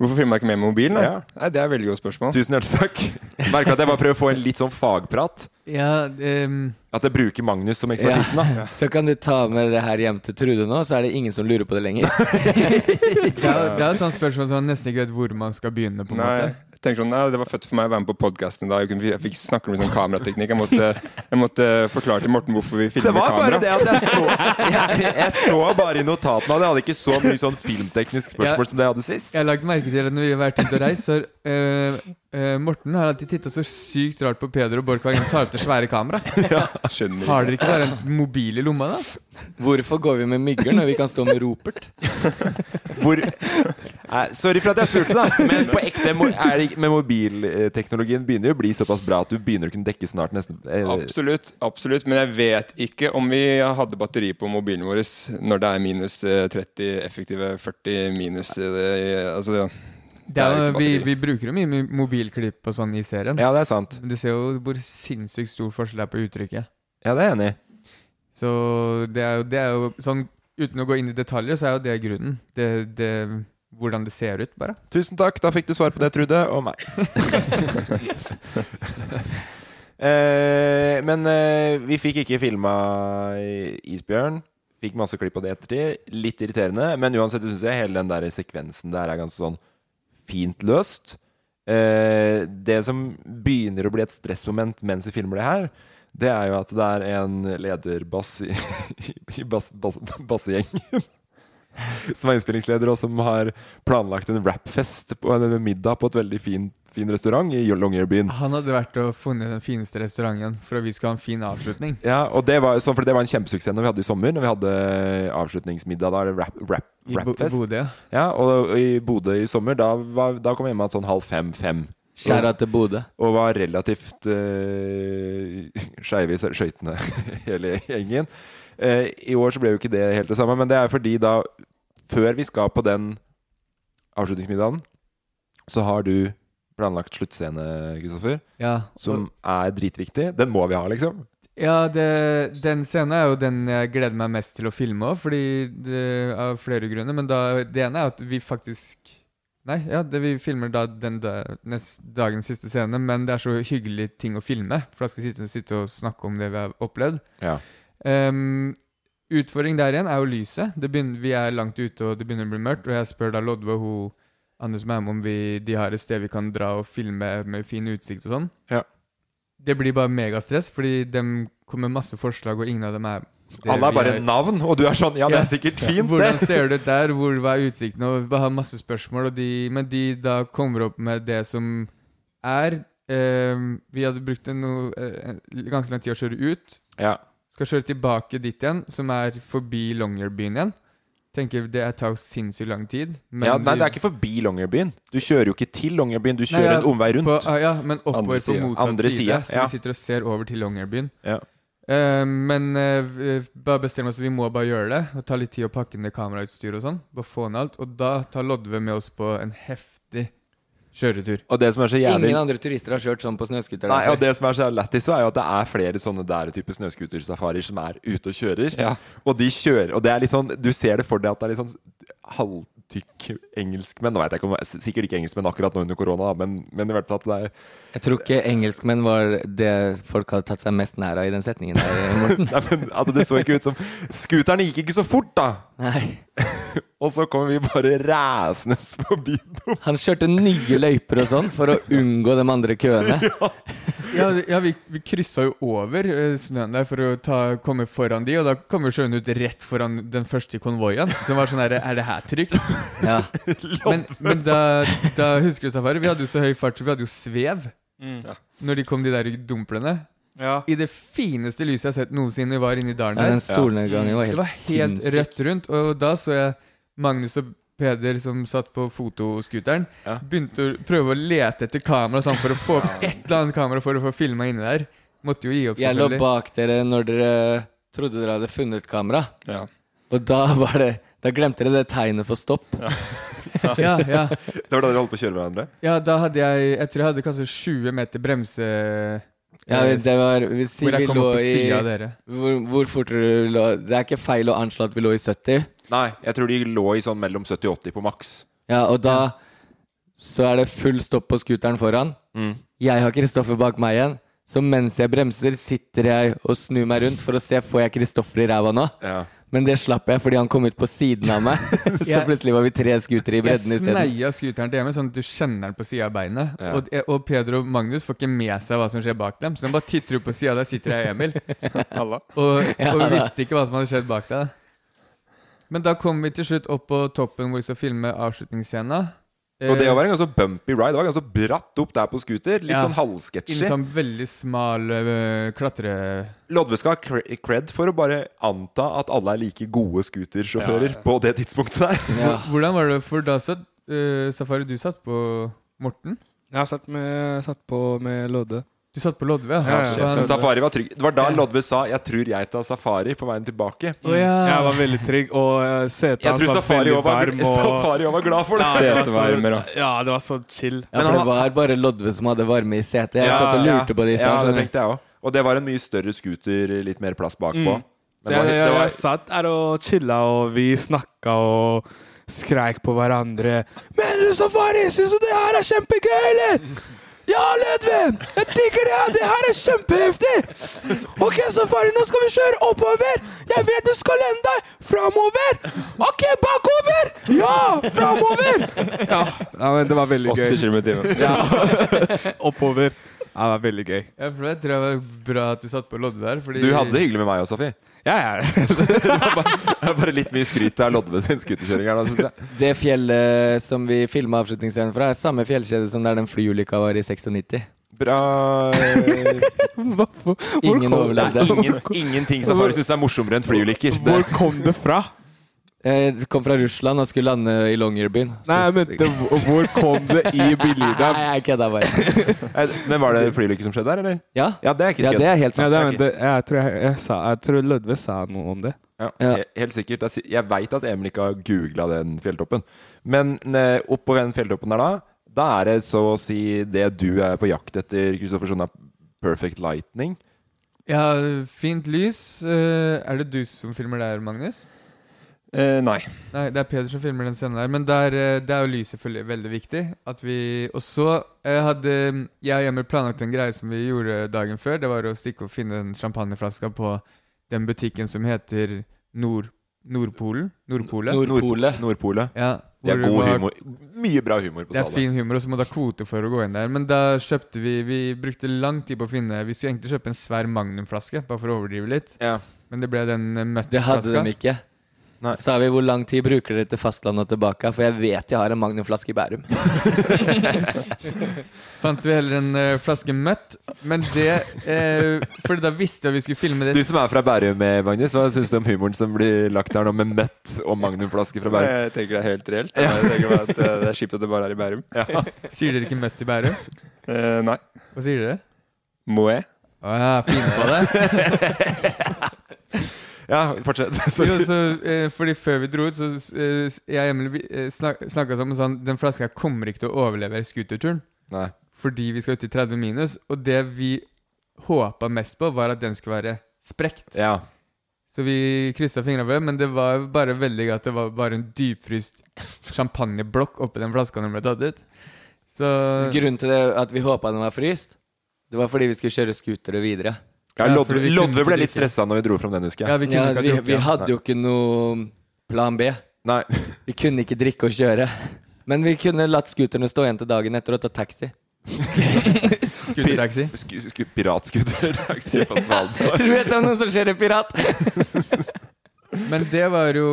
D: Hvorfor filmer jeg ikke med mobilen? Da?
A: Ja.
D: Nei, det er et veldig godt spørsmål.
A: Tusen hjertelig takk. Merker at jeg bare prøver å få en litt sånn fagprat.
B: Ja, ehm,
A: At jeg bruker Magnus som
C: Ja.
A: ekspertisen, da.
C: Så kan du ta med det her hjem til Trude nå, så er det ingen som lurer på det lenger.
B: det er det er et sånt spørsmål som man nesten ikke vet hvor man skal begynne. på en
D: Nei,
B: måte
D: jeg tenker sånn, nei, Det var født for meg å være med på podkasten i dag. Jeg, kunne, jeg fikk snakke om liksom kamerateknikk. Jeg måtte, jeg måtte forklare til Morten hvorfor vi
A: Det
D: filmer med
A: var
D: kamera.
A: bare det at jeg så Jeg, jeg så bare i notatene at jeg hadde ikke så mye sånn filmteknisk spørsmål
B: Ja.
A: som det jeg hadde sist.
B: Jeg har lagt merke til at når vi har vært ute og reist, så har eh, eh, Morten har alltid titta så sykt rart på Peder og Borch hver gang de tar opp det svære kameraet.
D: Skjønner
B: Har
D: ikke.
B: dere ikke bare en mobil i lomma, da?
C: Hvorfor går vi med mygger når vi kan stå med ropert?
A: Hvor Nei, Sorry for at jeg spurte, da. Men på ekte mo- er det, ikke- med mobilteknologien begynner jo å bli såpass bra at du begynner å kunne dekke snart nesten eh,
D: Absolutt, absolutt, men jeg vet ikke om vi hadde batteri på mobilen vår når det er minus eh, 30 effektive 40 minus eh, altså,
B: Det
D: jo
B: er, jo-
D: ikke
B: vi,
D: batteri.
B: vi bruker jo mye mo- mobilklipp og sånn i serien.
A: Ja, det er sant.
B: Men Du ser jo hvor sinnssykt stor forskjell det er på uttrykket.
A: Ja, det er jeg enig i.
B: Så det er jo, det er jo sånn, Uten å gå inn i detaljer, så er jo det grunnen. Det, det, hvordan det ser ut, bare.
A: Tusen takk, da fikk du svar på det, Trude, og meg. eh, men eh, vi fikk ikke filma isbjørn. Fikk masse klipp av det i ettertid. Litt irriterende, men uansett syns jeg hele den der sekvensen der er ganske sånn fint løst. Eh, det som begynner å bli et stressmoment mens vi filmer det her, det er jo at det er en lederbass i, i bass, bass, bassegjengen som er innspillingsleder, og som har planlagt en rapfest på en middag på et veldig fin, fin restaurant i Longyearbyen.
B: Han hadde vært og funnet den fineste restauranten for at vi skulle ha en fin avslutning.
A: Ja, og det var, så, for det var en kjempesuksess når vi hadde i sommer, når vi hadde eh, avslutningsmiddag. Da er det rap, rap,
B: I Bo-
A: rapfest.
B: Bodø.
A: Ja, og i Bodø i sommer, da, var, da kom jeg hjem igjen sånn halv fem-fem.
C: Skjæra til Bodø.
A: Og var relativt uh, skeive i skø- skøytene, hele gjengen. Eh, I år så ble jo ikke det helt det samme, men det er fordi da Før vi skal på den avslutningsmiddagen, så har du planlagt sluttscene, Kristoffer,
B: Ja,
A: som er dritviktig. Den må vi ha, liksom.
B: Ja, det, den scenen er jo den jeg gleder meg mest til å filme òg, fordi det av flere grunner. Men da, det ene er at vi faktisk Nei, ja, det vi filmer da den da, nest, dagens siste scene, men det er så hyggelig ting å filme, for da skal vi sitte, sitte og snakke om det vi har opplevd.
A: Ja.
B: Ehm, utfordring der igjen er jo lyset. Det begynner, vi er langt ute, og det begynner å bli mørkt. Og jeg spør da Lodve og hun Anders Mæhm om vi, de har et sted vi kan dra og filme med fin utsikt og sånn.
A: Ja.
B: Det blir bare megastress, fordi de kommer masse forslag, og ingen av dem er det
A: Alle
B: vi
A: er bare
B: har-
A: navn, og du er sånn Ja, det
B: Ja.
A: er sikkert fint,
B: Hvordan
A: det.
B: ser det ut der? Hvor hva er utsikten? Og vi har masse spørsmål, og de, men de da kommer opp med det som er eh, Vi hadde brukt en, no- eh, en ganske lang tid å kjøre ut.
A: Ja.
B: Skal kjøre tilbake dit igjen, som er forbi Longyearbyen igjen. Tenker Det er- tar jo sinnssykt lang tid. men
A: ja, nei,
B: vi-
A: det er ikke forbi Longyearbyen. Du kjører jo ikke til Longyearbyen, du
B: Nei,
A: kjører
B: ja,
A: en omvei rundt.
B: På, ah, ja, men
D: Andre
B: oppover på
D: siden.
B: motsatt
A: Andre
B: side.
A: siden,
B: Så
A: ja.
B: vi sitter og ser over til Longyearbyen.
A: Ja.
B: Eh, men eh, vi- bare bestemmer oss, vi må bare gjøre det. Og ta litt tid å pakke ned kamerautstyr og sånn. Bare få ned alt. Og da tar Lodve med oss på en heftig kjøretur.
A: Og det som er så jævlig
C: Ingen andre turister har kjørt sånn på snøscooter.
A: Nei,
C: der.
A: og det som er så lættis, så er jo at det er flere sånne der type snøscootersafarier som er ute og kjører.
D: Ja.
A: Og de kjører Og det er litt sånn Du ser det for deg at det er litt sånn halvtykk engelskmenn Nå vet jeg ikke om Sikkert ikke engelskmenn akkurat nå under korona, da, men, men i hvert fall at det er
C: Jeg tror ikke engelskmenn var det folk hadde tatt seg mest nær av i den setningen der, Morten.
A: Nei, men altså, det så ikke ut som Scooterne gikk ikke så fort, da!
C: Nei.
A: Og så kommer vi bare ræsende forbi dem.
C: Han kjørte nye løyper og sånn for å unngå de andre køene.
B: Ja, ja vi, vi kryssa jo over eh, snøen der for å ta, komme foran de, og da kom jo sjøen ut rett foran den første konvoien. Som var sånn her Er det her trygt?
C: Ja.
B: Men, men da, da husker du safari? Vi hadde jo så høy fart, så vi hadde jo svev når de kom, de der dumplene.
E: Ja.
B: I det fineste lyset jeg har sett noensinne var inne i dalen
C: Ja,
B: der.
C: den solnedgangen var
B: Det
C: helt
B: var helt
C: sinnssyk.
B: rødt rundt, og da så jeg Magnus og Peder som satt på fotoskuteren, begynte å prøve å lete etter kamera sånn, for å få opp et eller annet kamera for å få filma inni der. Måtte jo gi opp,
C: Jeg lå
B: selvfølgelig.
C: bak dere når dere trodde dere hadde funnet kamera,
D: Ja.
C: og da var det da glemte dere det tegnet for stopp.
B: Ja, ja.
A: Det var da dere holdt på å kjøre hverandre?
B: ja, da hadde jeg Jeg tror jeg hadde kanskje 20 meter bremse
C: Ja, det var vi, si,
B: hvor
C: vi
B: jeg kom
C: lå
B: opp på
C: i
B: sida av dere.
C: hvor, hvor fort dere lå Det er ikke feil å anslå at vi lå i 70.
A: Nei, jeg tror de lå i sånn mellom 70 og 80 på maks.
C: Ja, og da så er det full stopp på scooteren foran.
B: Mm.
C: Jeg har Kristoffer bak meg igjen, så mens jeg bremser, sitter jeg og snur meg rundt for å se får jeg Kristoffer i ræva nå.
A: Ja.
C: Men det slapp jeg fordi han kom ut på siden av meg. så
B: Jeg-
C: plutselig var vi tre scootere i
B: Jeg
C: bredden isteden.
B: sneia scooteren til Emil sånn at du kjenner den på sida av beinet.
A: Ja.
B: Og, eh, og Peder og Magnus får ikke med seg hva som skjer bak dem, så de bare titter opp på sida. Der sitter jeg og Emil.
D: Halla.
B: Og,
C: Ja,
B: og vi
C: da.
B: visste ikke hva som hadde skjedd bak deg. Men da kom vi til slutt opp på toppen hvor vi skal filme avslutningsscenen.
A: Og det
B: Eh,
A: var en ganske bumpy ride. Det var ganske bratt opp der på scooter. Litt
B: Ja.
A: sånn
B: I
A: halvsketsjy.
B: en sånn veldig smal eh, klatre...
A: Lodve skal ha cre- cred for å bare anta at alle er like gode scootersjåfører på det tidspunktet der.
C: Ja.
B: Hvordan var det for da, satt, eh, Safari? Du satt på Morten?
E: Jeg har satt, med, satt på med Lodde.
B: Du satt på Lodve?
E: Ja, ja.
B: Så han-
A: Safari var trygg. Det var da Lodve sa 'jeg tror jeg tar safari' på veien tilbake.
B: Å, ja.
E: Jeg var veldig trygg, og eh, setet
A: Jeg
E: hans
A: tror
E: var
A: Safari
E: veldig
A: også var,
E: varm. Og...
A: safari også var glad for det.
E: Ja, det var
D: Setevarmer
E: så,
D: og-
E: ja, det var så chill.
C: Ja, for det var bare Lodve som hadde varme i setet. Jeg satt og lurte på det i
A: Ja,
C: stad.
A: det
C: skjønner du.
A: tenkte jeg også. Og det var en mye større scooter, litt mer plass bakpå.
E: Mm.
A: Men
E: Så
A: det
E: jeg,
A: var-
E: jeg,
A: det
E: jeg,
A: var-
E: satt der og chilla, og vi snakka og skreik på hverandre. 'Mener du safari? Syns du det her er kjempegøy, eller?' 'Ja, Lødven! Jeg digger det! her. Det her er kjempeheftig!' 'OK, safari, nå skal vi kjøre oppover! Jeg vet du skal lende deg framover!' 'OK, bakover! Ja, framover!' Ja, men det var veldig
D: 80 km i timen.
E: Oppover. Ja, det var veldig gøy.
B: Ja, for det tror jeg var bra at du satt på lodde der. Fordi
A: Du hadde det hyggelig med meg òg, Safi.
D: Ja, ja.
A: Det er bare litt mye skryt av Lodve sin skuterkjøring her, da, syns jeg.
C: Det fjellet som vi filma avslutningsscenen fra, er samme fjellkjede som der den flyulykka var i 96.
A: Bra
C: Ingen overlevde.
A: Ingen, Ingenting Safari syns er morsommere enn flyulykker. Det-
E: Hvor kom det fra?
C: Eh, Kom fra Russland og skulle lande i Longyearbyen. Så-
E: Nei, jeg mente hvor- hvor kom det i bildet?
C: Nei, jeg kødda bare.
A: Eh, Men var det flyulykker som skjedde der, eller?
C: Ja,
A: Ja, det er ikke
C: ja det er helt
E: Ja,
C: sant.
E: det, er- det, jeg tror, jeg, jeg, sa, jeg tror Lødve sa noe om det.
A: Ja,
C: Ja.
A: he- Helt sikkert. Det er si- Jeg veit at Emil ikke har googla den fjelltoppen. Men eh, oppå den fjelltoppen der da, da er det så å si det du er på jakt etter, Kristoffer Sjona, perfect lightning.
B: Ja, fint lys. Eh, er det du som filmer der, Magnus?
D: Eh, nei.
B: Nei, det er Peder som filmer den scenen der. Men der, eh, det er jo lys selvfølgelig veldig viktig. At vi Og så eh, hadde jeg og Emil planlagt en greie som vi gjorde dagen før. Det var å stikke og finne den champagneflaska på den butikken som heter Nord... Nordpolen? Nordpolet?
C: Nordpolet.
A: Nordpolet.
B: ja,
A: Det er
B: hvor
A: god
B: var-
A: humor. Mye bra humor på
B: Det er
A: Sala.
B: fin humor, og så må du ha kvote for å gå inn der. Men da kjøpte vi Vi brukte lang tid på å finne Vi skulle egentlig kjøpe en svær magnumflaske, bare for å overdrive litt.
A: Ja.
B: Men det ble den eh,
C: Det hadde
B: møttflaska.
C: de ikke.
A: Nei.
C: Så Sa vi hvor lang tid bruker dere til fastlandet og tilbake? For jeg vet jeg har en magnumflaske i Bærum.
B: Fant vi heller en eh, flaske møtt. Men det eh, For da visste vi at vi skulle filme det.
A: Du som er fra Bærum, eh, Magnus, hva syns du om humoren som blir lagt her nå, med møtt og magnumflaske fra Bærum?
D: Jeg tenker det er helt reelt. Jeg tenker bare at eh, Det er kjipt at det bare er i Bærum.
B: Sier dere ikke møtt i Bærum?
D: Eh, nei.
B: Hva sier dere?
D: Moe.
B: Å ja, fine på det.
A: Ja, fortsett.
B: Jo,
A: Sorry.
B: så, eh, fordi før vi dro ut, så eh, jeg og Emil vi, eh, snak, snakka sammen sånn Den flaska kommer ikke til å overleve scooterturen.
A: Nei.
B: fordi vi skal ut i 30 minus, og det vi håpa mest på, var at den skulle være sprekt.
A: Ja.
B: Så vi kryssa fingra for det, men det var jo bare veldig gøy at det var bare en dypfryst champagneblokk oppi den flaska den ble tatt ut. Så
C: Grunnen til det at vi håpa den var fryst, det var fordi vi skulle kjøre scootere videre.
A: ja
B: Ja,
A: Lodve,
B: fordi vi kunne
A: Lodve ble
B: ikke
A: litt
B: drikke.
A: stressa når vi dro fram den, husker
B: Ja,
A: jeg.
B: vi kunne
C: Ja,
B: ikke ha
C: vi,
B: drukket.
C: vi hadde jo ikke noe plan B.
A: Nei.
C: Vi kunne ikke drikke og kjøre. Men vi kunne latt scooterne stå igjen til dagen etter og ta taxi.
B: Scootertaxi.
A: Sku- sku- Piratskutertaxi på Svalbard.
C: Du vet om noen som kjører pirat?
B: Men det var jo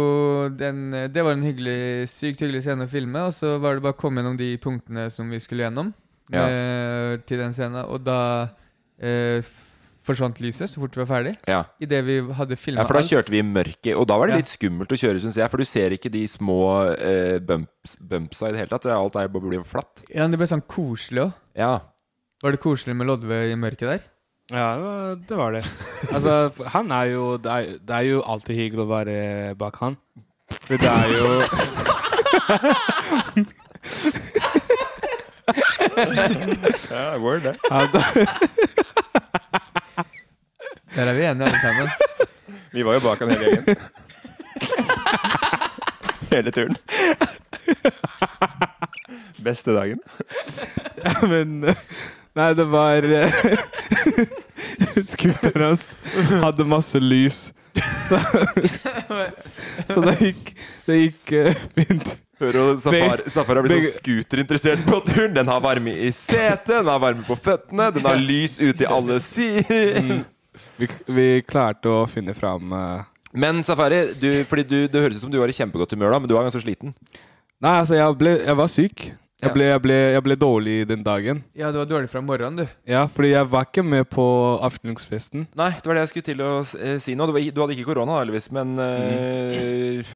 B: den, Det var en hyggelig, sykt hyggelig scene å filme, og så var det bare å komme gjennom de punktene som vi skulle gjennom
A: Ja.
B: eh, til den scenen, og da eh, f- forsvant lyset så fort vi var ferdig.
A: Ja.
B: Idet vi hadde filma
A: ja, for da kjørte vi i mørket, og da var det
B: Ja.
A: litt skummelt å kjøre, syns jeg. For du ser ikke de små eh, bumps, bumpsa i det hele tatt. Alt er bare blir flatt.
B: Ja, men det ble sånn koselig òg.
A: Ja.
B: Var det koselig med Lodve i mørket der?
E: Ja, det var- det var det. Altså, han er jo Det er, det er jo alltid hyggelig å være bak han. For det er jo
D: Ja, word, det.
E: han,
B: Der er vi enige alle sammen.
D: Vi var jo bak han hele gjengen. Hele turen. Beste dagen.
E: Men eh, Nei, det var eh, Scooteren hans hadde masse lys. Så, så det gikk Det gikk eh, fint.
A: Hører du, Safar,
E: Beg-
A: Safar har blitt
E: beg-
A: så scooterinteressert på turen. Den har varme i setet, den har varme på føttene, den har lys ut i alle sider.
E: Vi, vi klarte å finne fram eh,
A: Men Safari, du, fordi du, det høres ut som du var i kjempegodt humør da, men du var ganske sliten.
E: Nei, altså, jeg, ble, jeg var syk.
A: Ja.
E: Jeg ble, jeg, ble, jeg ble dårlig den dagen.
B: Ja, du var dårlig fra morgenen, du.
E: Ja, fordi jeg var ikke med på avslutningsfesten.
A: Nei, det var det jeg skulle til å eh, si nå. Du, var, du hadde ikke korona, da, heldigvis, men eh,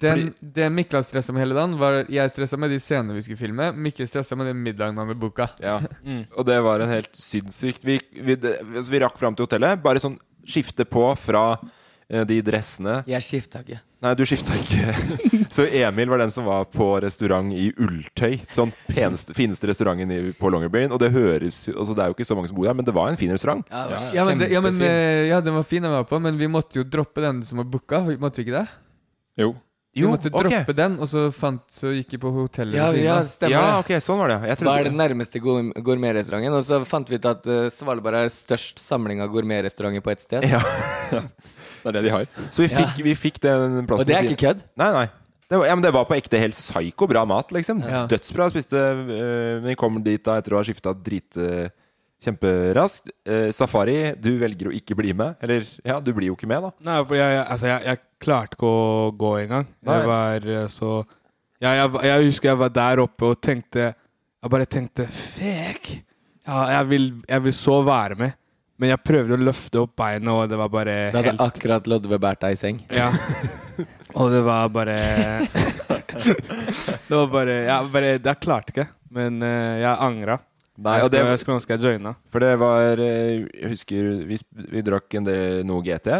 B: Den, det Mikkel har stressa med hele dagen, var jeg stressa med de scenene vi skulle filme. Mikkel stressa med den middagen han hadde booka.
A: Ja.
C: Mm.
A: Og det var en helt sinnssykt vi, vi, det- altså, vi rakk fram til hotellet. Bare sånn skifte på fra eh, de dressene
C: Jeg skifta ikke.
A: Nei, du skifta ikke. Så Emil var den som var på restaurant i ulltøy. Sånn peneste, fineste restauranten i, på Longyearbyen. Og det høres jo- altså, Det er jo ikke så mange som bor her, men det var en fin restaurant.
C: Ja, det er var
B: Ja, men, det, ja, men eh, ja, den var fin, den var på, men vi måtte jo droppe den som var booka. vi- Måtte vi ikke det?
D: Jo.
B: vi måtte droppe den, og så, fant, så gikk vi på hotellet.
C: Ja,
B: ved siden
C: ja,
B: av.
C: stemmer Ja, det.
A: sånn var det.
C: Hva er den nærmeste gour- gourmetrestauranten? Og så fant vi ut at eh, Svalbard er størst samling av gourmetrestauranter på ett sted.
A: Ja.
D: Det er det de har.
A: Så vi fikk, vi fikk den plassen.
C: Og det er
A: ved
C: ikke
A: siden-
C: kødd?
A: Nei, nei. Det var, ja, men det var på ekte helt psyko bra mat, liksom.
C: Ja.
A: Dødsbra. Spiste øh, Men vi kommer dit da etter å ha skifta drit øh, kjemperaskt. Eh, Safari, du velger å ikke bli med. Eller ja, du blir jo ikke med, da.
E: Nei, for jeg, jeg- altså, jeg, jeg klarte ikke å gå engang.
A: Nei.
E: Jeg var eh, så jeg, jeg, var- jeg husker jeg var der oppe og tenkte Jeg bare tenkte Fuck! Ja, jeg, vil, jeg vil så være med. Men jeg prøvde å løfte opp beinet, og det var bare
C: Da hadde akkurat Lodve båret deg i seng.
E: Ja. Og det var bare Det var bare Jeg, bare, jeg klarte ikke, men eh, jeg angra.
A: Nei,
E: jeg,
A: og det-
E: skulle, jeg skulle ønske jeg joina.
A: For det var eh, Jeg husker vi, sp- vi drakk en del noe GT.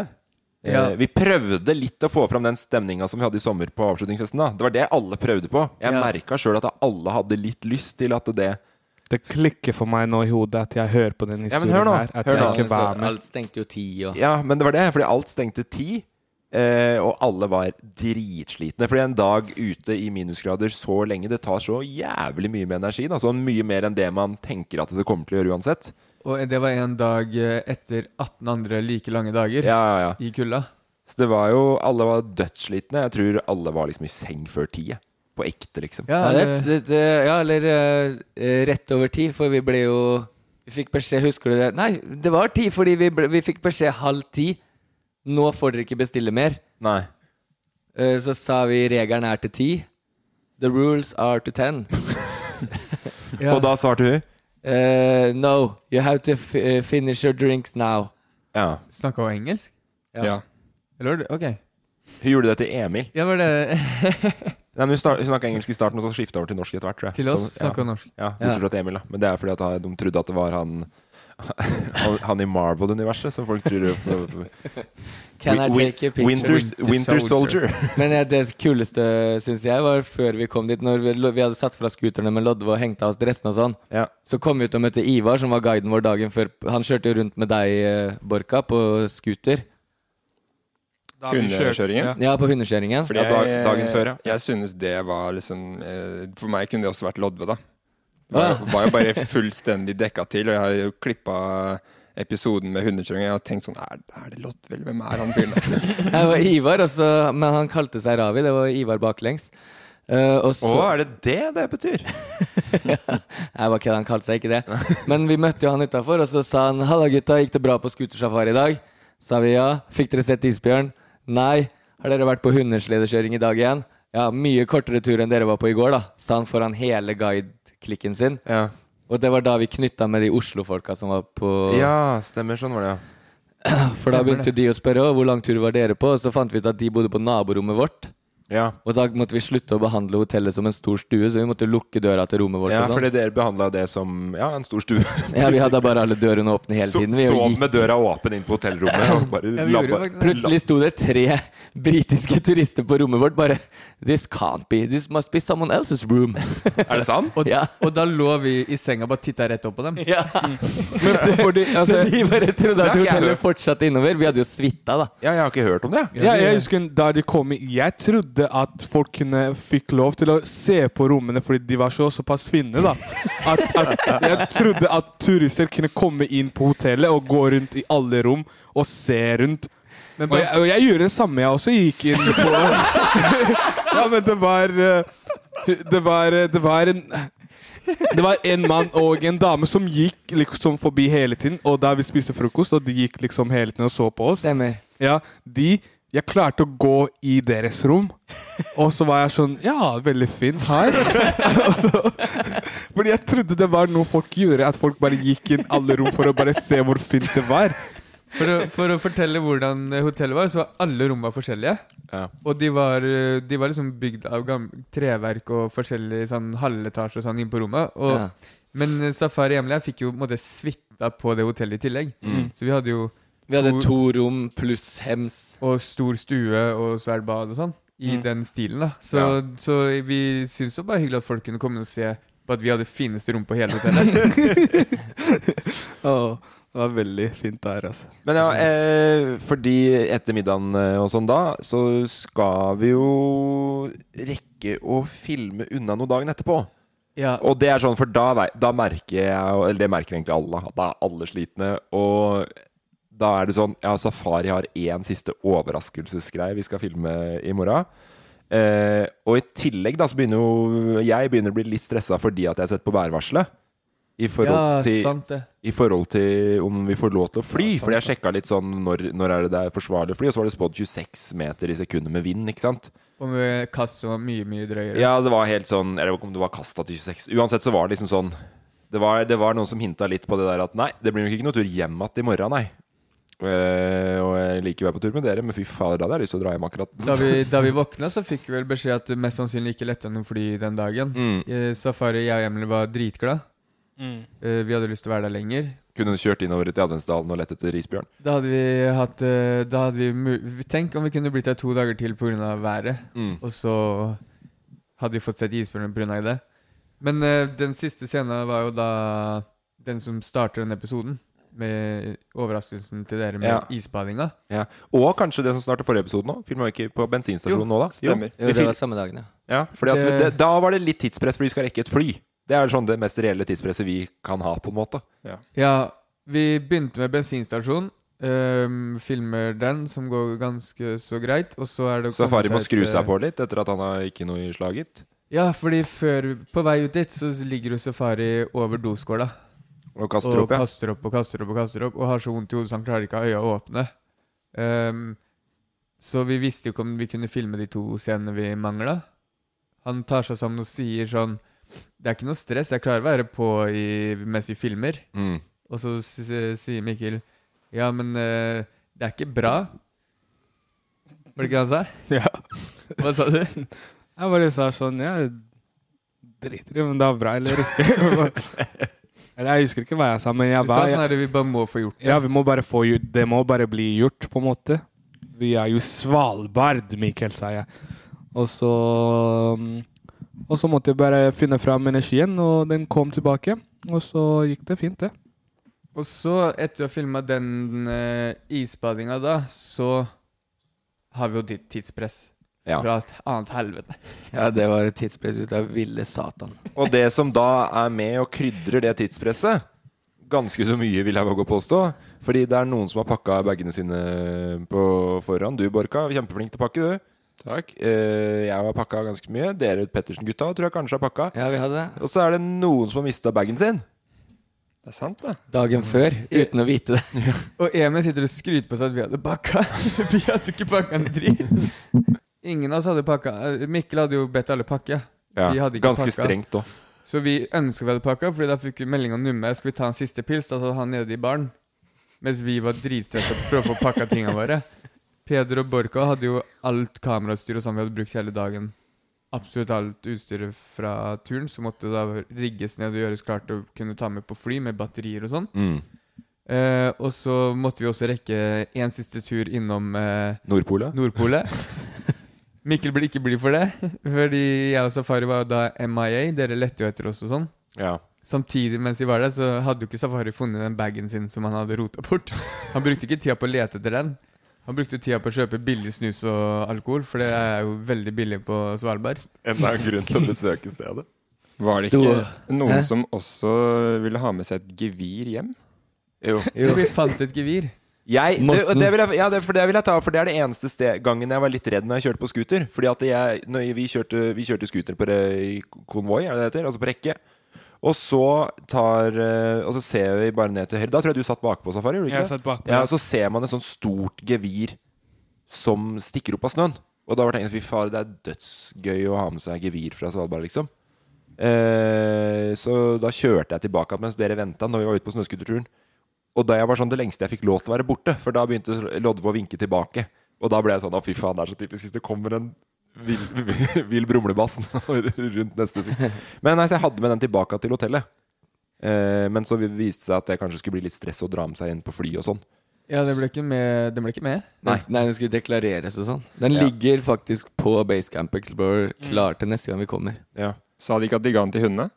A: Eh,
E: Ja.
A: Vi prøvde litt å få fram den stemninga som vi hadde i sommer på avslutningsfesten. da Det var det alle prøvde på. Jeg
E: Ja.
A: merket merka sjøl at alle hadde litt lyst til at det
E: Det klikker for meg nå i hodet at jeg hører på den
A: Ja, men
E: historien
A: hør nå.
E: her. At
A: Hør
E: jeg
B: er
A: nå.
E: ikke var med.
C: Alt stengte jo ti og
A: Ja, men det var det, fordi alt stengte ti. eh, og alle var dritslitne. Fordi en dag ute i minusgrader så lenge, det tar så jævlig mye med energi. Da. Sånn mye mer enn det man tenker at det kommer til å gjøre uansett.
B: Og det var en dag eh, etter 18 andre like lange dager
A: Ja, ja, ja.
B: i kulda.
A: Så det var jo Alle var dødsslitne. Jeg tror alle var liksom i seng før ti. jeg. På ekte, liksom.
C: Ja, det,
B: eller-
C: det, det, ja eller eh, rett over ti, for vi ble jo Vi fikk beskjed, husker du det? Nei, det var ti, fordi vi, ble, vi fikk beskjed halv ti. Nå får dere ikke bestille mer.
A: Nei.
C: Eh, så sa vi regelen er til ti. The rules are to ten.
A: Og da svarte hun
C: Eh, no, you have to f eh, finish your drinks now.
A: Ja.
B: Snakka hun engelsk?
C: Ja.
B: Eller var det OK.
A: Hun gjorde det til Emil.
B: Ja, var det
A: Nei, men Hun, snar- hun snakka engelsk i starten, og så skifta over til norsk etter hvert. tror jeg.
B: Til oss
A: Så- ja.
B: snakka hun norsk.
A: Ja, bortsett fra til Emil, da. Men det er fordi at han- de trodde at det var han Han, han i Marvel-universet, som folk tror er-
C: Can I
A: Win-
C: take a picture?
A: Winter, Winter Soldier.
C: Men eh, det kuleste, syns jeg, var før vi kom dit, når vi, vi hadde satt fra scooterne med Lodve og hengt av oss dressene og sånn.
A: Ja.
C: Så kom vi ut og møtte Ivar, som var guiden vår dagen før. Han kjørte jo rundt med deg, eh, Borka, på scooter.
E: Da har vi kjørt-
D: Hundekjøringen?
E: Ja.
C: Ja, på hundekjøringen.
D: Fordi
A: Ja, dag-
D: jeg-
A: dagen før, ja.
D: Jeg synes det var liksom eh, For meg kunne det også vært Lodve, da. Var,
C: Ah.
D: var jo bare fullstendig dekka til, og jeg har jo klippa episoden med hundekjøring. Jeg har tenkt sånn Er, er det Lodve, eller hvem er han fyren der?
C: Det var Ivar, og så- men han kalte seg Ravi. Det var Ivar baklengs. Eh, og
A: Å,
C: så
A: er det det det betyr?
C: Jeg var kødda, han kalte seg ikke det. Men vi møtte jo han utafor, og så sa han 'Halla, gutta, gikk det bra på scootersafari i dag?' Sa vi ja. 'Fikk dere sett isbjørn?' Nei. 'Har dere vært på hundesledekjøring i dag igjen?' Ja, mye kortere tur enn dere var på i går, da, sa han foran hele guide-klikken sin.
A: Ja.
C: Og det var da vi knytta med de Oslo-folka som var på
A: ja, stemmer. Sånn var det, ja.
C: For
E: Stemmer
C: da
E: det.
C: begynte de å spørre «Å, hvor lang tur var dere på, og så fant vi ut at de bodde på naborommet vårt. Og da måtte vi slutte å behandle hotellet som en stor stue, så vi måtte lukke døra til rommet vårt.
A: Ja,
C: og sånn.
A: fordi dere behandla det som ja, en stor stue.
C: Ja, vi hadde bare alle dørene åpne hele
A: So-
C: tiden. Vi
A: Sov med døra åpen inn på hotellrommet. Og bare
C: Ja, vi gjorde
A: labba-
C: faktisk det. Plutselig sto det tre britiske turister på rommet vårt bare This can't be, this must be someone else's room.
A: Er det sant?
B: Og,
C: Ja.
B: og da lå vi i senga og bare titta rett opp på dem.
C: Ja.
B: Men fordi,
E: altså-
C: så de bare
B: Det
C: trodde
B: har
C: at
B: ikke jeg
C: hotellet
B: hørt.
C: fortsatte innover. Vi hadde jo suita, da.
A: Ja, jeg har ikke hørt om det.
E: Ja, jeg husker da de kom i- Jeg trodde at folk kunne, fikk lov til å se på rommene fordi de var så, såpass finne. da at, at Jeg trodde at turister kunne komme inn på hotellet og gå rundt i alle rom og se rundt. og, jeg, og jeg gjorde det samme, jeg også gikk inn på Ja, men det var eh, Det var, eh, det var en det var en mann og en dame som gikk liksom forbi hele tiden. Og da vi spiste frokost, og de gikk liksom hele tiden og så på oss.
C: Stemmer.
E: Ja, de Jeg klarte å gå i deres rom, og så var jeg sånn Ja, veldig fint her. og så, fordi jeg trodde det var noe folk gjorde, at folk bare gikk inn alle rom for å bare se hvor fint det var.
B: For å, for å fortelle hvordan eh, hotellet var, så var alle rommene forskjellige.
A: Ja.
B: Og de var, eh, de var liksom bygd av gam- treverk og forskjellig sånn halvetasje og sånn inne på rommet. Og,
C: Ja.
B: Men eh, Safari Emily jeg fikk jo på en måte suita på det hotellet i tillegg.
C: Mm.
B: Så vi hadde jo
C: Vi hadde to rom pluss hems.
B: Og stor stue og svært bad og sånn. I
C: Mm.
B: den stilen, da. Så,
C: Ja.
B: så vi syntes jo bare hyggelig at folk kunne komme og se på at vi hadde fineste rom på hele hotellet.
E: Åh, det var veldig fint der, altså.
A: Men ja, eh, fordi etter middagen eh, og sånn da, så skal vi jo rekke å filme unna noe dagen etterpå.
B: Ja.
A: Og det er sånn, for da, vei- da merker jeg, eller det merker egentlig alle, at da er alle slitne. Og da er det sånn, ja, Safari har én siste overraskelsesgreie vi skal filme i morgen. Eh, og i tillegg da, så begynner jo jeg begynner å bli litt stressa fordi at jeg har sett på værvarselet. I forhold,
B: Ja,
A: til,
B: sant det.
A: I forhold til om vi får lov til å fly. fordi jeg sjekka litt sånn når, når er det det er forsvarlig å fly, og så var det spådd 26 meter i sekundet med vind. ikke sant?
B: og med kast som var mye, mye drøyere.
A: Ja, det var helt sånn Jeg vet ikke om det var kasta til 26. Uansett så var det liksom sånn Det var, det var noen som hinta litt på det der at nei, det blir nok ikke noe tur hjem igjen i morgen, nei. Eh, og jeg liker å være på tur med dere, men fy fader, da hadde jeg lyst til å dra hjem akkurat.
B: Da vi, da vi våkna, så fikk vi vel beskjed at det mest sannsynlig ikke letta noen fly den dagen.
A: Mm.
B: Eh, Safari, jeg og Emil var dritglad.
E: Mm.
B: Eh, vi hadde lyst til å være der lenger.
A: Kunne kjørt innover til Adventsdalen og lett etter isbjørn.
B: Da hadde vi hatt eh, Da hadde vi mu- Tenk om vi kunne blitt der to dager til pga. været.
A: Mm.
B: Og så hadde vi fått sett isbjørnen pga. det. Men eh, den siste scenen var jo da den som starter denne episoden. Med overraskelsen til dere med
A: Ja.
B: isbadinga.
A: Ja. Og kanskje det som startet forrige episode nå? Filma vi ikke på bensinstasjonen nå, da?
B: stemmer.
C: Jo,
A: Vi
C: det
A: fil-
C: var samme dagen, ja.
A: ja fordi at
C: Det-
A: det, da var det litt tidspress, for vi skal rekke et fly. Det er sånn det mest reelle tidspresset vi kan ha, på en måte.
B: Ja, vi begynte med bensinstasjon. øhm, filmer den, som går ganske så greit. Og så er det å komme
A: Safari må skru
B: til-
D: eh,
A: seg på litt etter at han har ikke noe i slaget.
B: Ja, fordi før, på vei ut dit så ligger jo Safari over doskåla.
A: Og kaster opp, ja.
B: og kaster opp og kaster opp og kaster opp. Og har så vondt i hodet så han klarer ikke å ha øya åpne. Øhm, så vi visste jo ikke om vi kunne filme de to scenene vi mangla. Han tar seg sammen og sier sånn Det er ikke noe stress, jeg klarer å være på i, mens vi filmer.
A: Mm.
B: Og så s- s- sier Mikkel Ja, men eh, det er ikke bra. Var det ikke det han sa?
E: Ja.
B: Hva sa du?
E: Jeg bare sa sånn Jeg driter i om det er bra eller ikke. eller jeg husker ikke hva jeg sa, men jeg
B: Du sa
E: var
B: sånn her, vi bare må få gjort det.
E: Ja, vi må bare få gjort Det må bare bli gjort, på en måte. Vi er jo Svalbard, Mikkel, sa jeg. Og så mm, Og så måtte jeg bare finne fram energien, og den kom tilbake. Og så gikk det fint, det.
B: Og så, etter å ha filma den uh, isbadinga da, så har vi jo ditt tidspress.
A: Ja.
B: Fra et annet helvete.
C: Ja, det var et tidspress ut av ville satan.
A: Og det som da er med og krydrer det tidspresset, ganske så mye, vil jeg våge å påstå. Fordi det er noen som har pakka bagene sine på forhånd. Du, Borka, kjempeflink til å pakke, du.
D: Takk.
A: Eh, jeg har pakka ganske mye. Dere Pettersen-gutta tror jeg kanskje har pakka.
C: Ja, vi hadde det.
A: Og så er det noen som har mista bagen sin.
D: Det er sant, det.
C: Dagen før, uten å vite det.
B: Og Emil sitter og skryter på seg at vi hadde pakka. vi hadde ikke pakka en dritt. Ingen av oss hadde pakka. eh, Mikkel hadde jo bedt alle pakke.
A: Ja,
B: vi hadde ikke
A: ganske
B: pakka.
A: strengt òg.
B: Så vi ønsker vi hadde pakka, Fordi da fikk vi melding av Numme Skal vi ta en siste pils. Da satt han nede i baren. Mens vi var dritstressa og prøvde å få pakka tinga våre. Peder og Borka hadde jo alt kamerastyr og sånn vi hadde brukt hele dagen. Absolutt alt utstyret fra turen, som måtte da rigges ned og gjøres klart å kunne ta med på fly med batterier og sånn.
A: Mm.
B: Eh, og så måtte vi også rekke en siste tur innom eh,
A: Nordpolet.
B: Mikkel ble ikke blid for det, fordi jeg og Safari var jo da MIA. Dere lette jo etter oss og sånn.
A: Ja.
B: Samtidig mens vi var der, så hadde jo ikke Safari funnet den bagen sin som han hadde rota bort. Han brukte ikke tida på å lete etter den. Han brukte tida på å kjøpe billig snus og alkohol, for det er jo veldig billig på Svalbard.
A: Enda en grunn til å besøke stedet.
D: Var det ikke noen
B: Hæ?
D: som også ville ha med seg et gevir hjem?
A: Jo.
B: Vi fant et gevir.
A: Jeg, det,
D: Morten.
A: det vil jeg, ja, det, for det vil jeg ta, for det er det eneste sted, gangen jeg var litt redd når jeg kjørte på scooter. Fordi at jeg, når vi kjørte, vi kjørte scooter på re- i konvoi, er det det heter? Altså på rekke. Og så, tar, eh, og så ser vi bare ned til høyre. Da tror jeg du satt bakpå, Safari. gjorde du ikke
E: Jeg
A: det?
E: satt bakpå,
A: ja,
E: ja.
A: og Så ser man et sånt stort gevir som stikker opp av snøen. Og da var det tenkt fy faen, det er dødsgøy å ha med seg gevir fra Svalbard, liksom. Eh, så da kjørte jeg tilbake igjen mens dere venta, når vi var ute på snøscooterturen. Og da jeg var sånn det lengste jeg fikk lov til å være borte, for da begynte Lodve å vinke tilbake. Og da ble jeg sånn Å, fy faen, det er så typisk hvis det kommer en vill, vill brumlebass nå rundt neste sving. Men nei, så jeg hadde med den tilbake til hotellet. Eh, men så viste det seg at det kanskje skulle bli litt stress å dra med seg inn på fly og sånn.
B: Ja, den ble ikke med. Den ble ikke med.
C: Nei, nei, den skulle deklareres og sånn. Den
A: Ja.
C: ligger faktisk på Basecamp Explorer klar til neste gang vi kommer.
A: Ja.
D: Sa de ikke at de ga den til hundene?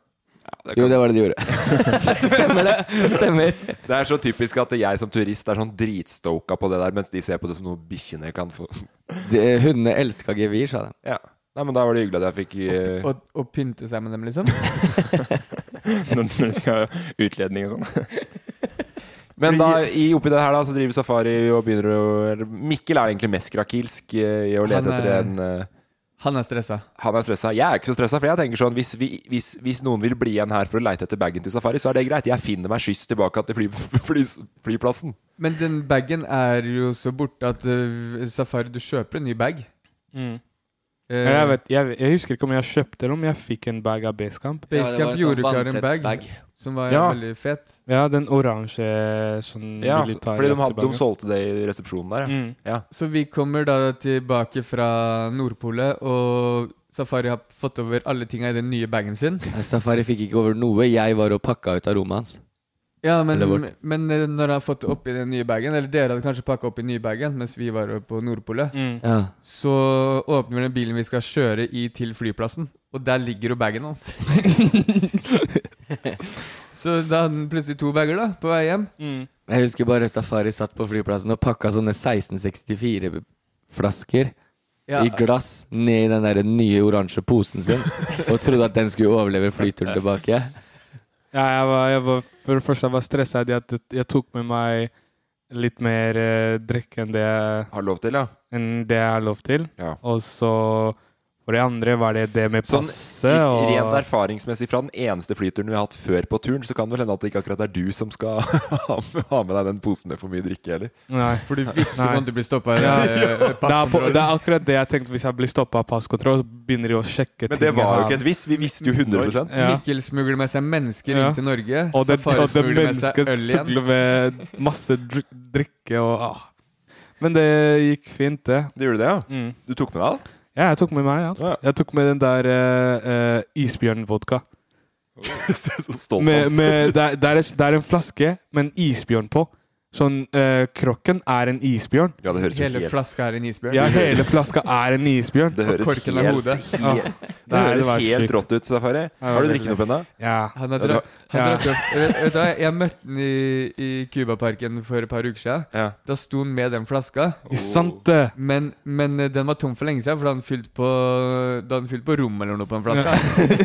C: Jo, det var det de gjorde. Stemmer det. Stemmer.
A: Det er så typisk at jeg som turist er sånn dritstoka på det der, mens de ser på det som noe bikkjene kan få.
C: De, eh, hundene elska gevir, sa de.
A: Ja. Nei, men da var det hyggelig at jeg fikk eh,
B: Og, og pynte seg med dem, liksom.
D: Når de skal ha utledning og sånn.
A: Men da, i, oppi det her da, så driver Safari og begynner å eller Mikkel er egentlig mest krakilsk eh, i å lete
B: Han er-
A: etter en eh,
B: Han er stressa.
A: Han er stressa. Jeg er ikke så stressa, for jeg tenker sånn hvis, vi, hvis, hvis noen vil bli igjen her for å leite etter bagen til Safari, så er det greit. Jeg finner meg skyss tilbake til fly, fly, flyplassen.
B: Men den bagen er jo så borte at eh, Safari, du kjøper en ny bag. Eh,
E: Men Jeg, vet, jeg, jeg husker ikke om jeg kjøpte eller om jeg fikk en bag av Basecamp.
B: Basecamp
C: en sånn
B: gjorde klar en
C: vanntett
B: bag,
C: bag.
B: som var
E: Ja.
B: veldig fet.
E: Ja, den oransje sånn
A: Ja,
E: militær
A: fordi de, hadde,
E: jakkebagen.
A: de solgte det i resepsjonen der. Ja.
E: Mm.
A: Ja.
B: Så vi kommer da tilbake fra Nordpolet, og Safari har fått over alle tinga i den nye bagen sin.
C: Nei, Safari fikk ikke over noe. Jeg var og pakka ut av rommet hans.
B: Ja, men,
C: Eller vårt.
B: men eh, når han har fått det oppi den nye bagen, eller dere hadde kanskje pakka oppi den nye bagen mens vi var på Nordpolet,
E: Mm.
C: Ja.
B: så åpner vi den bilen vi skal kjøre i til flyplassen, og der ligger jo bagen hans. så da hadde han plutselig to bager, da, på vei hjem.
E: Mm.
C: Jeg husker bare Safari satt på flyplassen og pakka sånne 1664-flasker
B: Ja.
C: i glass ned i den der nye oransje posen sin og trodde at den skulle overleve flyturen tilbake.
E: Ja, jeg var, jeg var, for det første jeg var stressa. Jeg, t- jeg tok med meg litt mer eh, drikke enn det, jeg-
A: Har lov til, ja.
E: enn det jeg har lov til.
A: ja.
E: Og så for det andre var det det med
A: Sånn
E: passe
A: i- rent
E: og
A: erfaringsmessig fra den eneste flyturen vi har hatt før på turen, så kan det vel hende at det ikke akkurat er du som skal ha med- ha med deg den posen med for mye drikke, heller.
E: Nei.
B: For du visste
E: Nei.
B: om du ble stoppa.
E: Ja. Det er, på, det er akkurat det jeg tenkte. Hvis jeg blir stoppa av passkontroll, så begynner de å sjekke
A: Men det
E: ting jeg
A: var jo
E: har. Mm.
A: ikke et hvis. Vi visste jo 100
E: Ja.
B: Mikkel smugler med seg mennesker
E: Ja.
B: inn til Norge.
E: Og det,
B: Safari
E: og det
B: smugler med seg
E: mennesket
B: øl igjen.
E: sugler med masse drik drikke og ah. Men det gikk fint, det.
A: Du gjorde det, ja?
E: Mm.
A: Du tok med deg alt?
E: Ja, jeg tok med meg alt.
A: Ja.
E: Jeg tok med den der eh, eh, isbjørnvodka.
A: Så stolt av
E: Med,
A: oss.
E: med, det, er, det, er, det er en flaske med en isbjørn på. Sånn eh, Krokken er en isbjørn.
A: Ja, det høres jo
B: Hele
A: helt
B: flaska er en isbjørn.
E: Ja, hele flaska er en isbjørn.
A: Det høres
B: korken er
A: helt,
B: hodet.
E: Ah,
A: helt, det
E: Nei, det
A: høres
E: var
A: helt
E: sykt.
A: rått ut, Safari. Har du drukket opp ennå?
E: ja.
B: Han har
A: Ja, det
B: dra-
A: var-
B: han
E: ja.
B: drakk opp Vet Eh, vet du hva, jeg møtte han i, i Cubaparken for et par uker siden.
A: Ja.
B: Da sto han med den flaska,
E: Ikke Sant det!
B: men, men eh, den var tom for lenge siden, for da hadde han fylt på Da hadde han fylt på rommet eller noe på den flaska.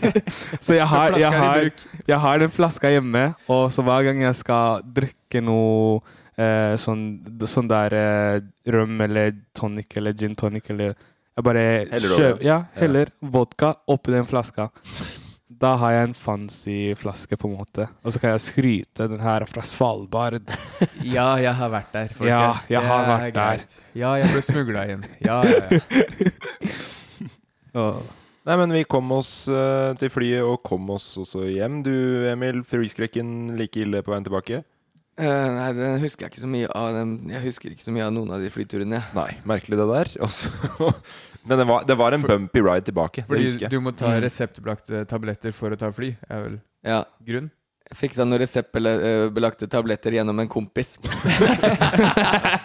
E: Så jeg har,
B: flaska
E: jeg,
B: er i
E: har,
B: bruk.
E: jeg har den flaska hjemme, og så hver gang jeg skal drikke noe eh, sånn, sånn der eh, røm eller tonic eller gin tonic eller Jeg bare
A: Heller over.
E: kjøper ja, heller vodka oppi den flaska. Da har jeg en fancy flaske, på en måte. Og så kan jeg skryte den her er fra Svalbard.
B: Ja, jeg har vært der, folkens.
E: Ja, jeg
B: Det
E: har
B: er
E: vært der.
B: greit. Ja, jeg ble smugla inn. Ja, ja, ja.
E: Og,
A: Nei, men vi kom oss eh, til flyet og kom oss også hjem. Du, Emil, fryskrekken like ille på veien tilbake?
C: Eh, nei, den husker jeg ikke så mye av. Den, jeg husker ikke så mye av noen av de flyturene.
A: Nei, merkelig det der. Og så- Men det var, det var en bumpy ride tilbake. Det husker
E: Fordi
A: jeg.
E: du må ta
A: Mm.
E: reseptbelagte tabletter for å ta fly, er vel
C: Ja.
E: grunn?
C: Jeg fiksa noen reseptbelagte tabletter gjennom en kompis.
E: Som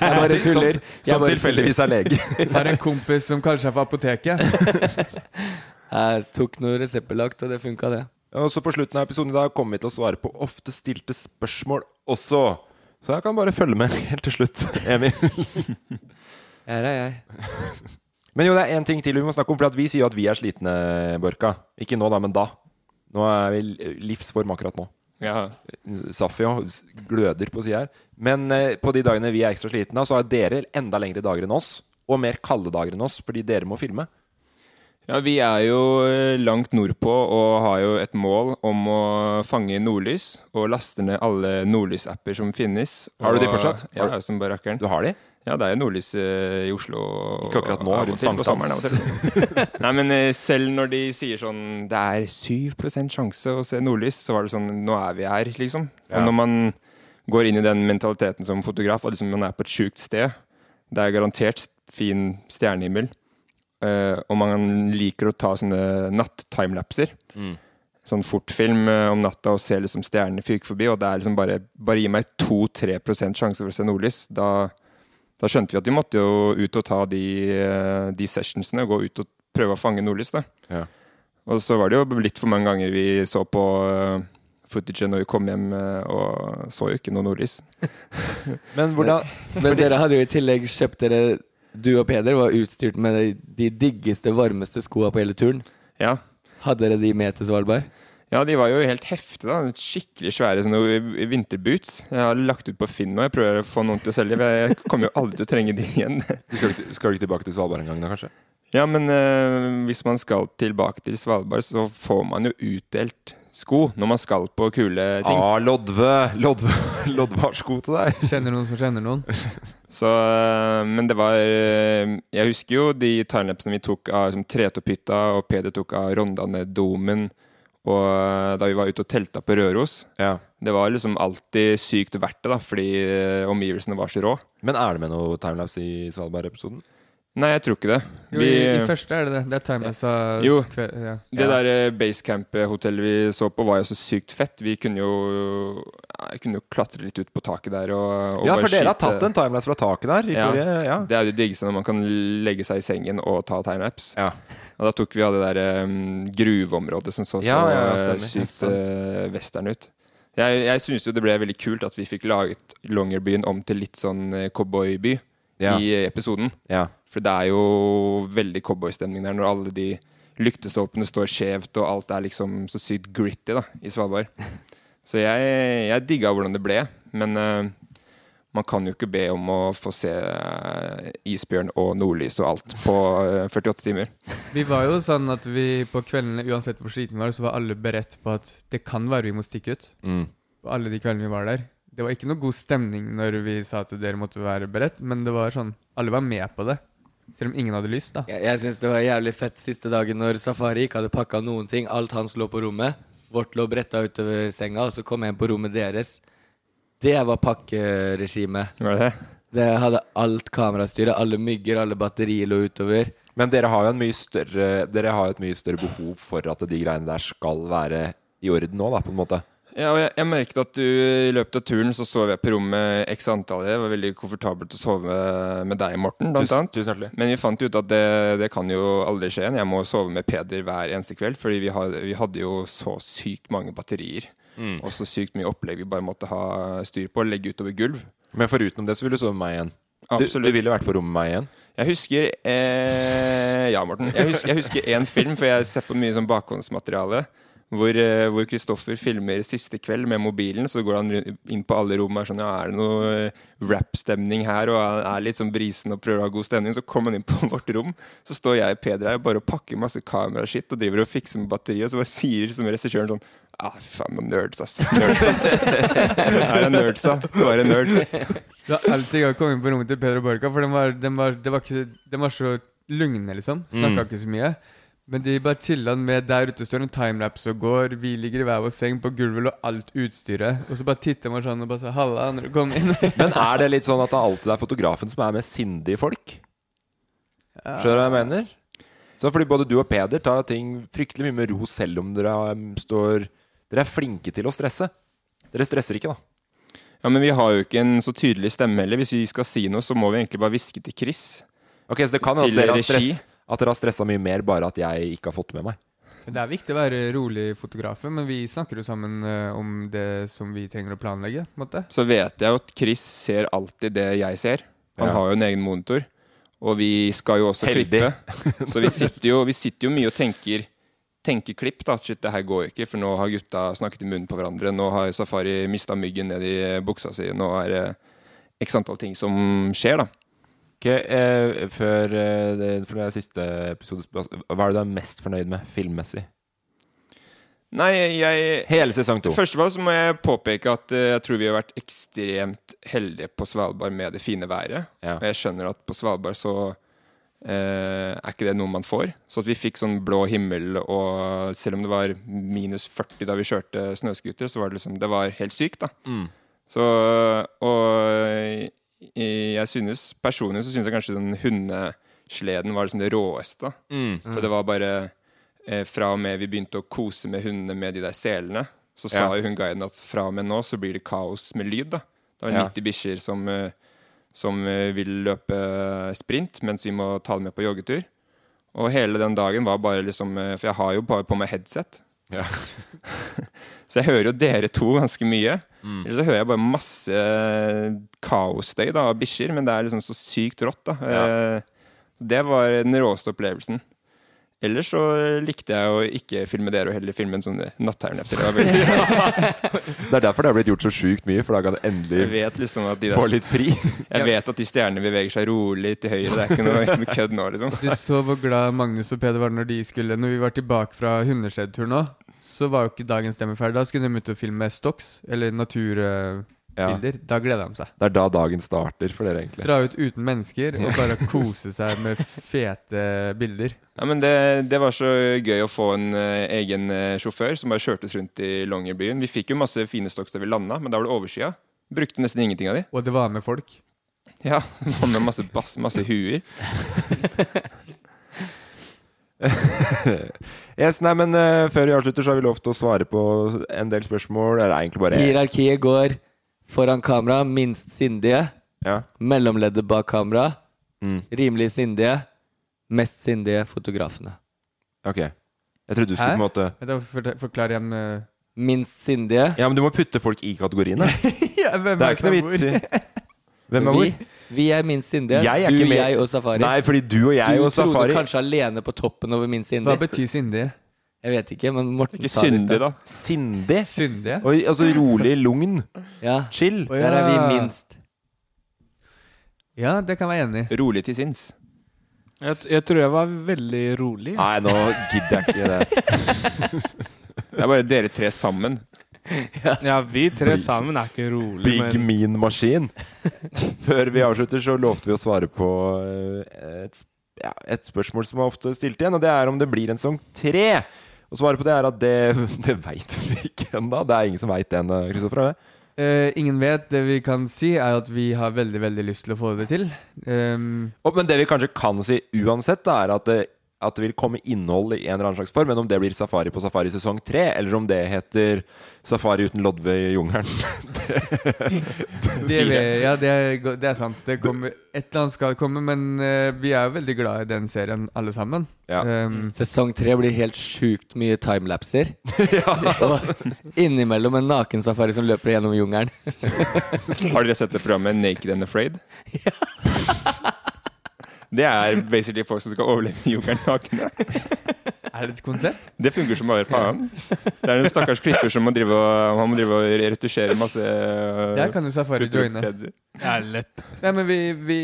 C: Bare
E: til- som-
C: tuller.
E: som
C: Jeg bare
E: tilfeldigvis er
C: tuller.
E: lege. Har en kompis som kanskje er fra apoteket.
C: Jeg tok noe reseptbelagt, og det funka, det.
A: Og så på slutten av episoden i dag kommer vi til å svare på ofte stilte spørsmål også. Så jeg kan bare følge med helt til slutt, Emil.
C: Her er jeg.
A: Men jo, det er én ting til vi må snakke om, for at vi sier jo at vi er slitne, Børka. Ikke nå, da, men da. Nå er vi i livsform akkurat nå.
B: Ja.
A: Safi jo s- gløder på sida her. Men eh, på de dagene vi er ekstra slitne, så har dere enda lengre dager enn oss. Og mer kalde dager enn oss, fordi dere må filme.
B: Ja, vi er jo eh, langt nordpå og har jo et mål om å fange nordlys og laste ned alle nordlysapper som finnes.
A: Har du de
B: Og-
A: fortsatt?
B: Ja,
A: Har du-
B: jeg er som barrakkeren.
A: Du har de?
B: Ja, det er jo nordlys eh, i Oslo. og-
A: Ikke akkurat nå,
B: av og
A: rundt
B: til, på
A: sankthans.
B: sommeren av og til. Nei, men eh, selv når de sier sånn det er 7 sjanse å se nordlys, så var det sånn nå er vi her, liksom.
A: Ja.
B: Og når man går inn i den mentaliteten som fotograf, at liksom man er på et sjukt sted, det er garantert fin stjernehimmel, eh, og man liker å ta sånne natt-timelapser
A: Mm.
B: sånn fortfilm eh, om natta og ser liksom stjernene fyke forbi, og det er liksom bare Bare gi meg 2-3 sjanse for å se nordlys. Da, da skjønte vi at vi måtte jo ut og ta de, eh, de sessionsene, gå ut og prøve å fange nordlys, da.
A: Ja.
B: Og så var det jo litt for mange ganger vi så på uh, footage når vi kom hjem eh, og så jo ikke noe nordlys.
A: Men hvordan
C: Men dere hadde jo i tillegg kjøpt dere Du og Peder var utstyrt med de, de diggeste, varmeste skoa på hele turen.
B: Ja.
C: Hadde dere de med til Svalbard?
B: Ja, de var jo helt heftige, da. Skikkelig svære sånne vinterboots. Jeg har lagt ut på Finn nå, jeg prøver å få noen til å selge, men jeg kommer jo aldri til å trenge de igjen.
A: Du skal, ikke- skal du ikke tilbake til Svalbard en gang, da, kanskje?
B: Ja, men eh, hvis man skal tilbake til Svalbard, så får man jo utdelt sko når man skal på kule ting.
A: Ah, Lodve! Lodve, Lodve har sko til deg.
E: Kjenner noen som kjenner noen.
B: Så, eh, men det var eh, Jeg husker jo de timelapsene vi tok av liksom, Tretopphytta, og Peder tok av Rondane-domen. Og eh, da vi var ute og telta på Røros. Det var liksom alltid sykt verdt det, da, fordi eh, omgivelsene var så rå.
A: Men er det med noe timelapse i Svalbard-episoden?
B: Nei, jeg tror ikke det.
E: Jo,
B: Vi-
E: i, I første er det det. Det er timeless av
B: Jo,
E: skve- ja.
B: Det der eh, basecamp-hotellet vi så på, var jo så sykt fett. Vi kunne jo, ja, jeg kunne jo klatre litt ut på taket der og, og
A: Ja,
B: bare
A: for dere har
B: skyte.
A: tatt en timelapse fra taket der. I
B: Ja.
A: Forrige, ja.
B: Det er jo det diggeste når man kan legge seg i sengen og ta timelapse. Og da tok vi av det der um, gruveområdet som så så
A: Ja, ja, ja,
B: eh,
A: stemmer.
B: sykt
A: Ja, sant.
B: eh, western ut. Jeg, jeg syns jo det ble veldig kult at vi fikk laget Longyearbyen om til litt sånn eh, cowboyby
A: Ja.
B: i episoden.
A: Ja.
B: For det er jo veldig cowboystemning der når alle de lyktestolpene står skjevt, og alt er liksom så sykt gritty da, i Svalbard. Så jeg, jeg digga hvordan det ble. Men eh, man kan jo ikke be om å få se eh, isbjørn og nordlys og alt på eh, 48 timer.
E: Vi var jo sånn at vi på kveldene, uansett hvor sliten vi var, så var alle beredt på at det kan være vi må stikke ut.
A: Mm.
E: Og alle de kveldene vi var der. Det var ikke noe god stemning når vi sa at dere måtte være beredt, men det var sånn Alle var med på det. Selv om ingen hadde lyst, da.
C: Jeg, jeg syns det var jævlig fett siste dagen når Safari ikke hadde pakka noen ting. Alt hans lå på rommet. Vårt lå bretta utover senga, og så kom jeg inn på rommet deres. Det var pakkeregimet.
B: Var det det?
C: Det hadde alt kamerastyret. Alle mygger, alle batterier lå utover.
A: Men dere har jo en mye større, dere har jo et mye større behov for at de greiene der skal være i orden nå, da, på en måte.
B: Ja, og jeg, jeg merket at du i løpet av turen så sov jeg på rommet x antall. Det var veldig komfortabelt å sove med, med deg, Morten, blant
A: Tusen-
B: annet.
A: tusen hjertelig.
B: Men vi fant ut at det, det kan jo aldri skje igjen. Jeg må sove med Peder hver eneste kveld, fordi vi, har, vi hadde jo så sykt mange batterier.
A: Mm.
B: Og så sykt mye opplegg vi bare måtte ha styr på, legge utover gulv.
A: Men foruten det så vil du sove med meg igjen. Du,
B: Absolutt.
A: du ville vært på rommet med meg igjen.
B: Jeg husker eh, Ja, Morten. Jeg husker, jeg husker en film, for jeg har sett på mye sånn bakhåndsmateriale. Hvor, eh, hvor Kristoffer filmer siste kveld med mobilen. Så går han ru- inn på alle rom og er sånn Ja, er det noe eh, rap-stemning her? Og han er litt sånn brisen og prøver å ha god stemning. Så kommer han inn på vårt rom. Så står jeg og Peder her og bare pakker masse kameraskitt og driver og fikser med batteriet. Og så bare sier som regissøren sånn Ah, faen, noen nerds, ass. Nerds, ass. Her er nerds, da. Bare nerds.
E: Det var alltid gøy å komme inn på rommet til Peder og Borka, for den var, den var, det var, ikke, den var så lugne, liksom. Snakka
B: Mm.
E: ikke så mye.
C: Men de bare chilla med der ute står en timelapse og går. Vi ligger i hver vår seng på gulvet og alt utstyret. Og så bare titter man sånn og bare sier 'halla' når du kommer inn.
A: Men er det litt sånn at det alltid er fotografen som er med sindige folk? Skjønner du hva jeg mener? Så fordi både du og Peder tar ting fryktelig mye med ro selv om dere um, står Dere er flinke til å stresse. Dere stresser ikke, da.
B: Ja, Men vi har jo ikke en så tydelig stemme heller. Hvis vi skal si noe, så må vi egentlig bare hviske til Chris.
A: Ok, Så det kan jo at dere har stress At dere har stressa mye mer, bare at jeg ikke har fått det med meg.
C: Det er viktig å være rolig fotografer, men vi snakker jo sammen eh, om det som vi trenger å planlegge. på en måte.
B: Så vet jeg jo at Chris ser alltid det jeg ser. Han
C: Ja.
B: har jo en egen monitor. Og vi skal jo også
A: Heldig.
B: klippe. Så vi sitter jo, vi sitter jo mye og tenker Tenker klipp. da, Shit, det her går ikke, for nå har gutta snakket i munnen på hverandre. Nå har Safari mista myggen ned i buksa si. Nå er det x antall ting som skjer, da.
A: Ok, eh, før, eh, det, for det er siste episode spør- Hva er det du er mest fornøyd med filmmessig?
B: Nei, jeg
A: Hele sesong to.
B: Først og fremst må jeg påpeke at eh, jeg tror vi har vært ekstremt heldige på Svalbard med det fine været.
A: Ja.
B: Og jeg skjønner at på Svalbard så eh, er ikke det noe man får. Så at vi fikk sånn blå himmel, og selv om det var minus 40 da vi kjørte snøscooter, så var det liksom Det var helt sykt, da.
A: Mm.
B: Så, og i- jeg synes, personlig så synes jeg kanskje den hundesleden var liksom det råeste. da.
A: Mm.
B: For det var bare eh, fra og med vi begynte å kose med hundene med de der selene, så sa
A: Ja.
B: jo hun guiden at fra og med nå så blir det kaos med lyd. da. Det var
A: Ja.
B: 90 bikkjer som, eh, som eh, vil løpe eh, sprint, mens vi må ta dem med på joggetur. Og hele den dagen var bare liksom eh, For jeg har jo bare på meg headset.
A: Ja.
B: så jeg hører jo dere to ganske mye.
A: Mm.
B: Eller så hører jeg bare masse eh, kaosstøy da, av bikkjer, men det er liksom så sykt rått. da. Eh, Det var den råeste opplevelsen. Ellers så eh, likte jeg å ikke filme dere, og heller filme en sånn natthærnefter.
A: Det er derfor det har blitt gjort så sjukt mye, for da kan det endelig
B: Jeg vet liksom at de
A: få litt fri.
B: Jeg vet at de stjernene beveger seg rolig til høyre. Det er ikke noe, ikke noe kødd nå, liksom.
C: Du så hvor glad Magnus og Peder var når de skulle Når vi var tilbake fra hundeskjedtur nå, så var jo ikke dagens stemme ferdig. Da skulle de ut og filme Stocks, eller naturbilder.
A: Ja.
C: Da gleda de seg.
A: Det er da dagen starter for dere, egentlig.
C: Dra ut uten mennesker og bare kose seg med fete bilder.
B: Ja, men det, det var så gøy å få en eh, egen eh, sjåfør som bare kjørte oss rundt i Longyearbyen. Vi fikk jo masse fine stokk da vi landa, men da var det overskya. Brukte nesten ingenting av de.
C: Og det var med folk.
B: Ja, det var med masse bass, masse huer.
A: yes, nei, men eh, Før vi avslutter, så har vi lov til å svare på en del spørsmål. Eller egentlig bare
G: Hierarkiet går foran kamera, minst sindige.
A: Ja.
G: Mellomleddet bak kamera,
A: Mm.
G: rimelig sindige. Mest sindige fotografene.
A: Ok. Jeg trodde du skulle
C: Hæ?
A: på en måte
C: Vent, da, for, forklar igjen. eh.
G: Minst sindige.
A: Ja, men du må putte folk i kategoriene.
C: Ja, hvem
A: Det er ikke
C: som
A: noe
C: bor?
A: vits i Hvem er hvor?
G: Vi, vi er minst sindige.
A: Jeg er
G: du,
A: ikke med.
G: jeg og Safari.
A: Nei, fordi du og jeg
G: du
A: og Safari
G: trodde kanskje alene på toppen over minst
C: Hva
G: sindig.
C: betyr sindige?
G: Jeg vet ikke, men Morten
B: Ikke
G: sa det i
B: syndig,
G: sted.
B: da.
A: Sindig.
C: Syndige?
A: Og, altså rolig lugn.
G: Ja,
A: Chill.
C: Å,
G: der er vi
C: ja.
G: minst.
C: Ja, det kan jeg være enig i.
B: Rolig til sinns.
E: Jeg, jeg tror jeg var veldig rolig.
A: Nei, nå gidder jeg ikke det.
B: Det er bare dere tre sammen.
E: Ja, vi tre sammen er ikke rolig,
A: Big
E: men
A: mean maskin. Før vi avslutter, så lovte vi å svare på eh, et, sp- ja, et spørsmål som er ofte stilt igjen, og det er om det blir en sesong tre. Og svaret på det er at det, det veit vi ikke ennå. Det er ingen som veit det ennå, Kristoffer. er det?
C: Eh, ingen vet. Det vi kan si, er at vi har veldig, veldig lyst til å få det til. Ehm,
A: Og, men det vi kanskje kan si uansett, da, er at det, at det vil komme innhold i en eller annen slags form. Men om det blir safari på safari sesong tre, eller om det heter safari uten lodve i jungelen
C: det, vi- ja, det, er go- det er sant. Det kommer, et eller annet skal komme, men eh, vi er jo veldig glad i den serien, alle sammen.
A: Ja.
C: Ehm,
G: Sesong tre blir helt sjukt mye timelapser. Og innimellom en nakensafari som løper gjennom jungelen.
B: Har dere sett det programmet Naked and Afraid? Det er basically folk som skal overleve i jungelen nakne.
C: er det et konsept?
B: Det funker som bare faen. Det er en stakkars klipper som må drive og, han må drive og retusjere masse eh,
C: Der kan jo Safari joine.
E: det er lett.
C: Nei, men vi, vi,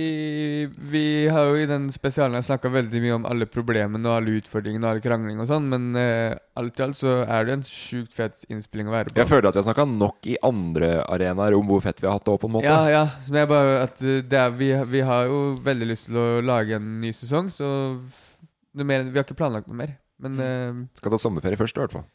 C: vi har jo i den spesialen snakka veldig mye om alle problemene og alle utfordringene og all krangling og sånn, men eh, alt i alt så er det en sjukt fet innspilling å være på.
A: Jeg føler at vi har snakka nok i andre arenaer om hvor fett vi har hatt det òg, på en måte.
C: Ja, ja. Men jeg bare at
B: eh,
C: uh, det er, vi, vi har jo veldig lyst til å lage en ny sesong, så f- noe mer, vi har ikke planlagt noe mer.
B: Men
C: Mm.
B: eh,
A: Skal ta sommerferie først, i hvert fall.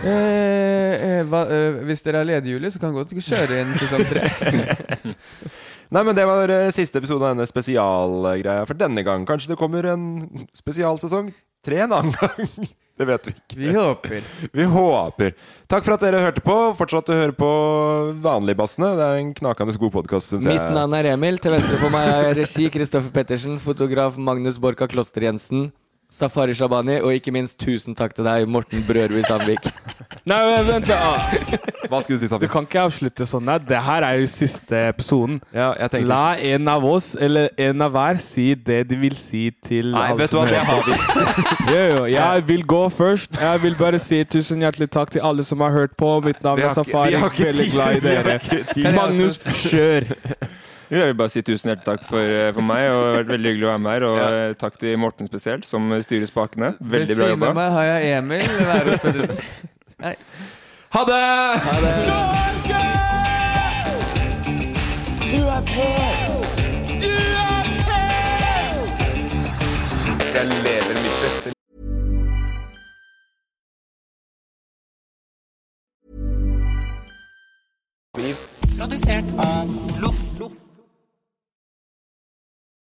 B: eh, eh, hva, eh, hvis dere er ledige i juli, så kan vi godt kjøre inn sesong tre.
A: Nei, men det var eh, siste episode av denne spesialgreia for denne gang. Kanskje det kommer en spesialsesong tre en annen gang. Det vet vi ikke.
B: Vi håper.
A: Vi håper. Takk for at dere hørte på. Fortsatt å høre på Vanligbassene. Det er en knakende god podkast, syns jeg.
C: Mitt navn er Emil. Til venstre for meg er regi Kristoffer Pettersen, fotograf Magnus Borka Kloster-Jensen, Safari Shabani, og ikke minst tusen takk til deg, Morten Brørud Sandvik.
E: Nei, men vent litt. Ah,
A: Hva skulle du si,
E: Du
A: Sander?
E: kan ikke avslutte sånn. Nei, det her er jo siste episoden.
A: Ja, jeg tenkte
E: La en av oss, eller en av hver, si det de vil si til
A: Nei,
E: alle
A: vet du
E: som
A: hva, det
E: hører
A: har vi.
E: på. Jo, jo, jeg vil gå først. Jeg vil bare si tusen hjertelig takk til alle som har hørt på. Mitt navn
A: Vi
E: er
A: har ikke- vi
E: Safari.
A: har ikke
E: Veldig
A: tid.
E: glad i
A: Vi har
E: dere.
A: ikke tid. altså.
E: Magnus, kjør!
D: Jeg vil bare si tusen hjertelig takk for,
B: eh,
D: for meg, og det har vært veldig hyggelig å være med her. Og eh, takk til Morten spesielt, som styrer spakene. Veldig bra
B: Ved siden av
D: jobba.
B: meg har jeg Emil. Værås Pettersen.
A: Ha det!
H: Du er på! Du er på!
I: Jeg lever mitt beste liv.
H: Produsert av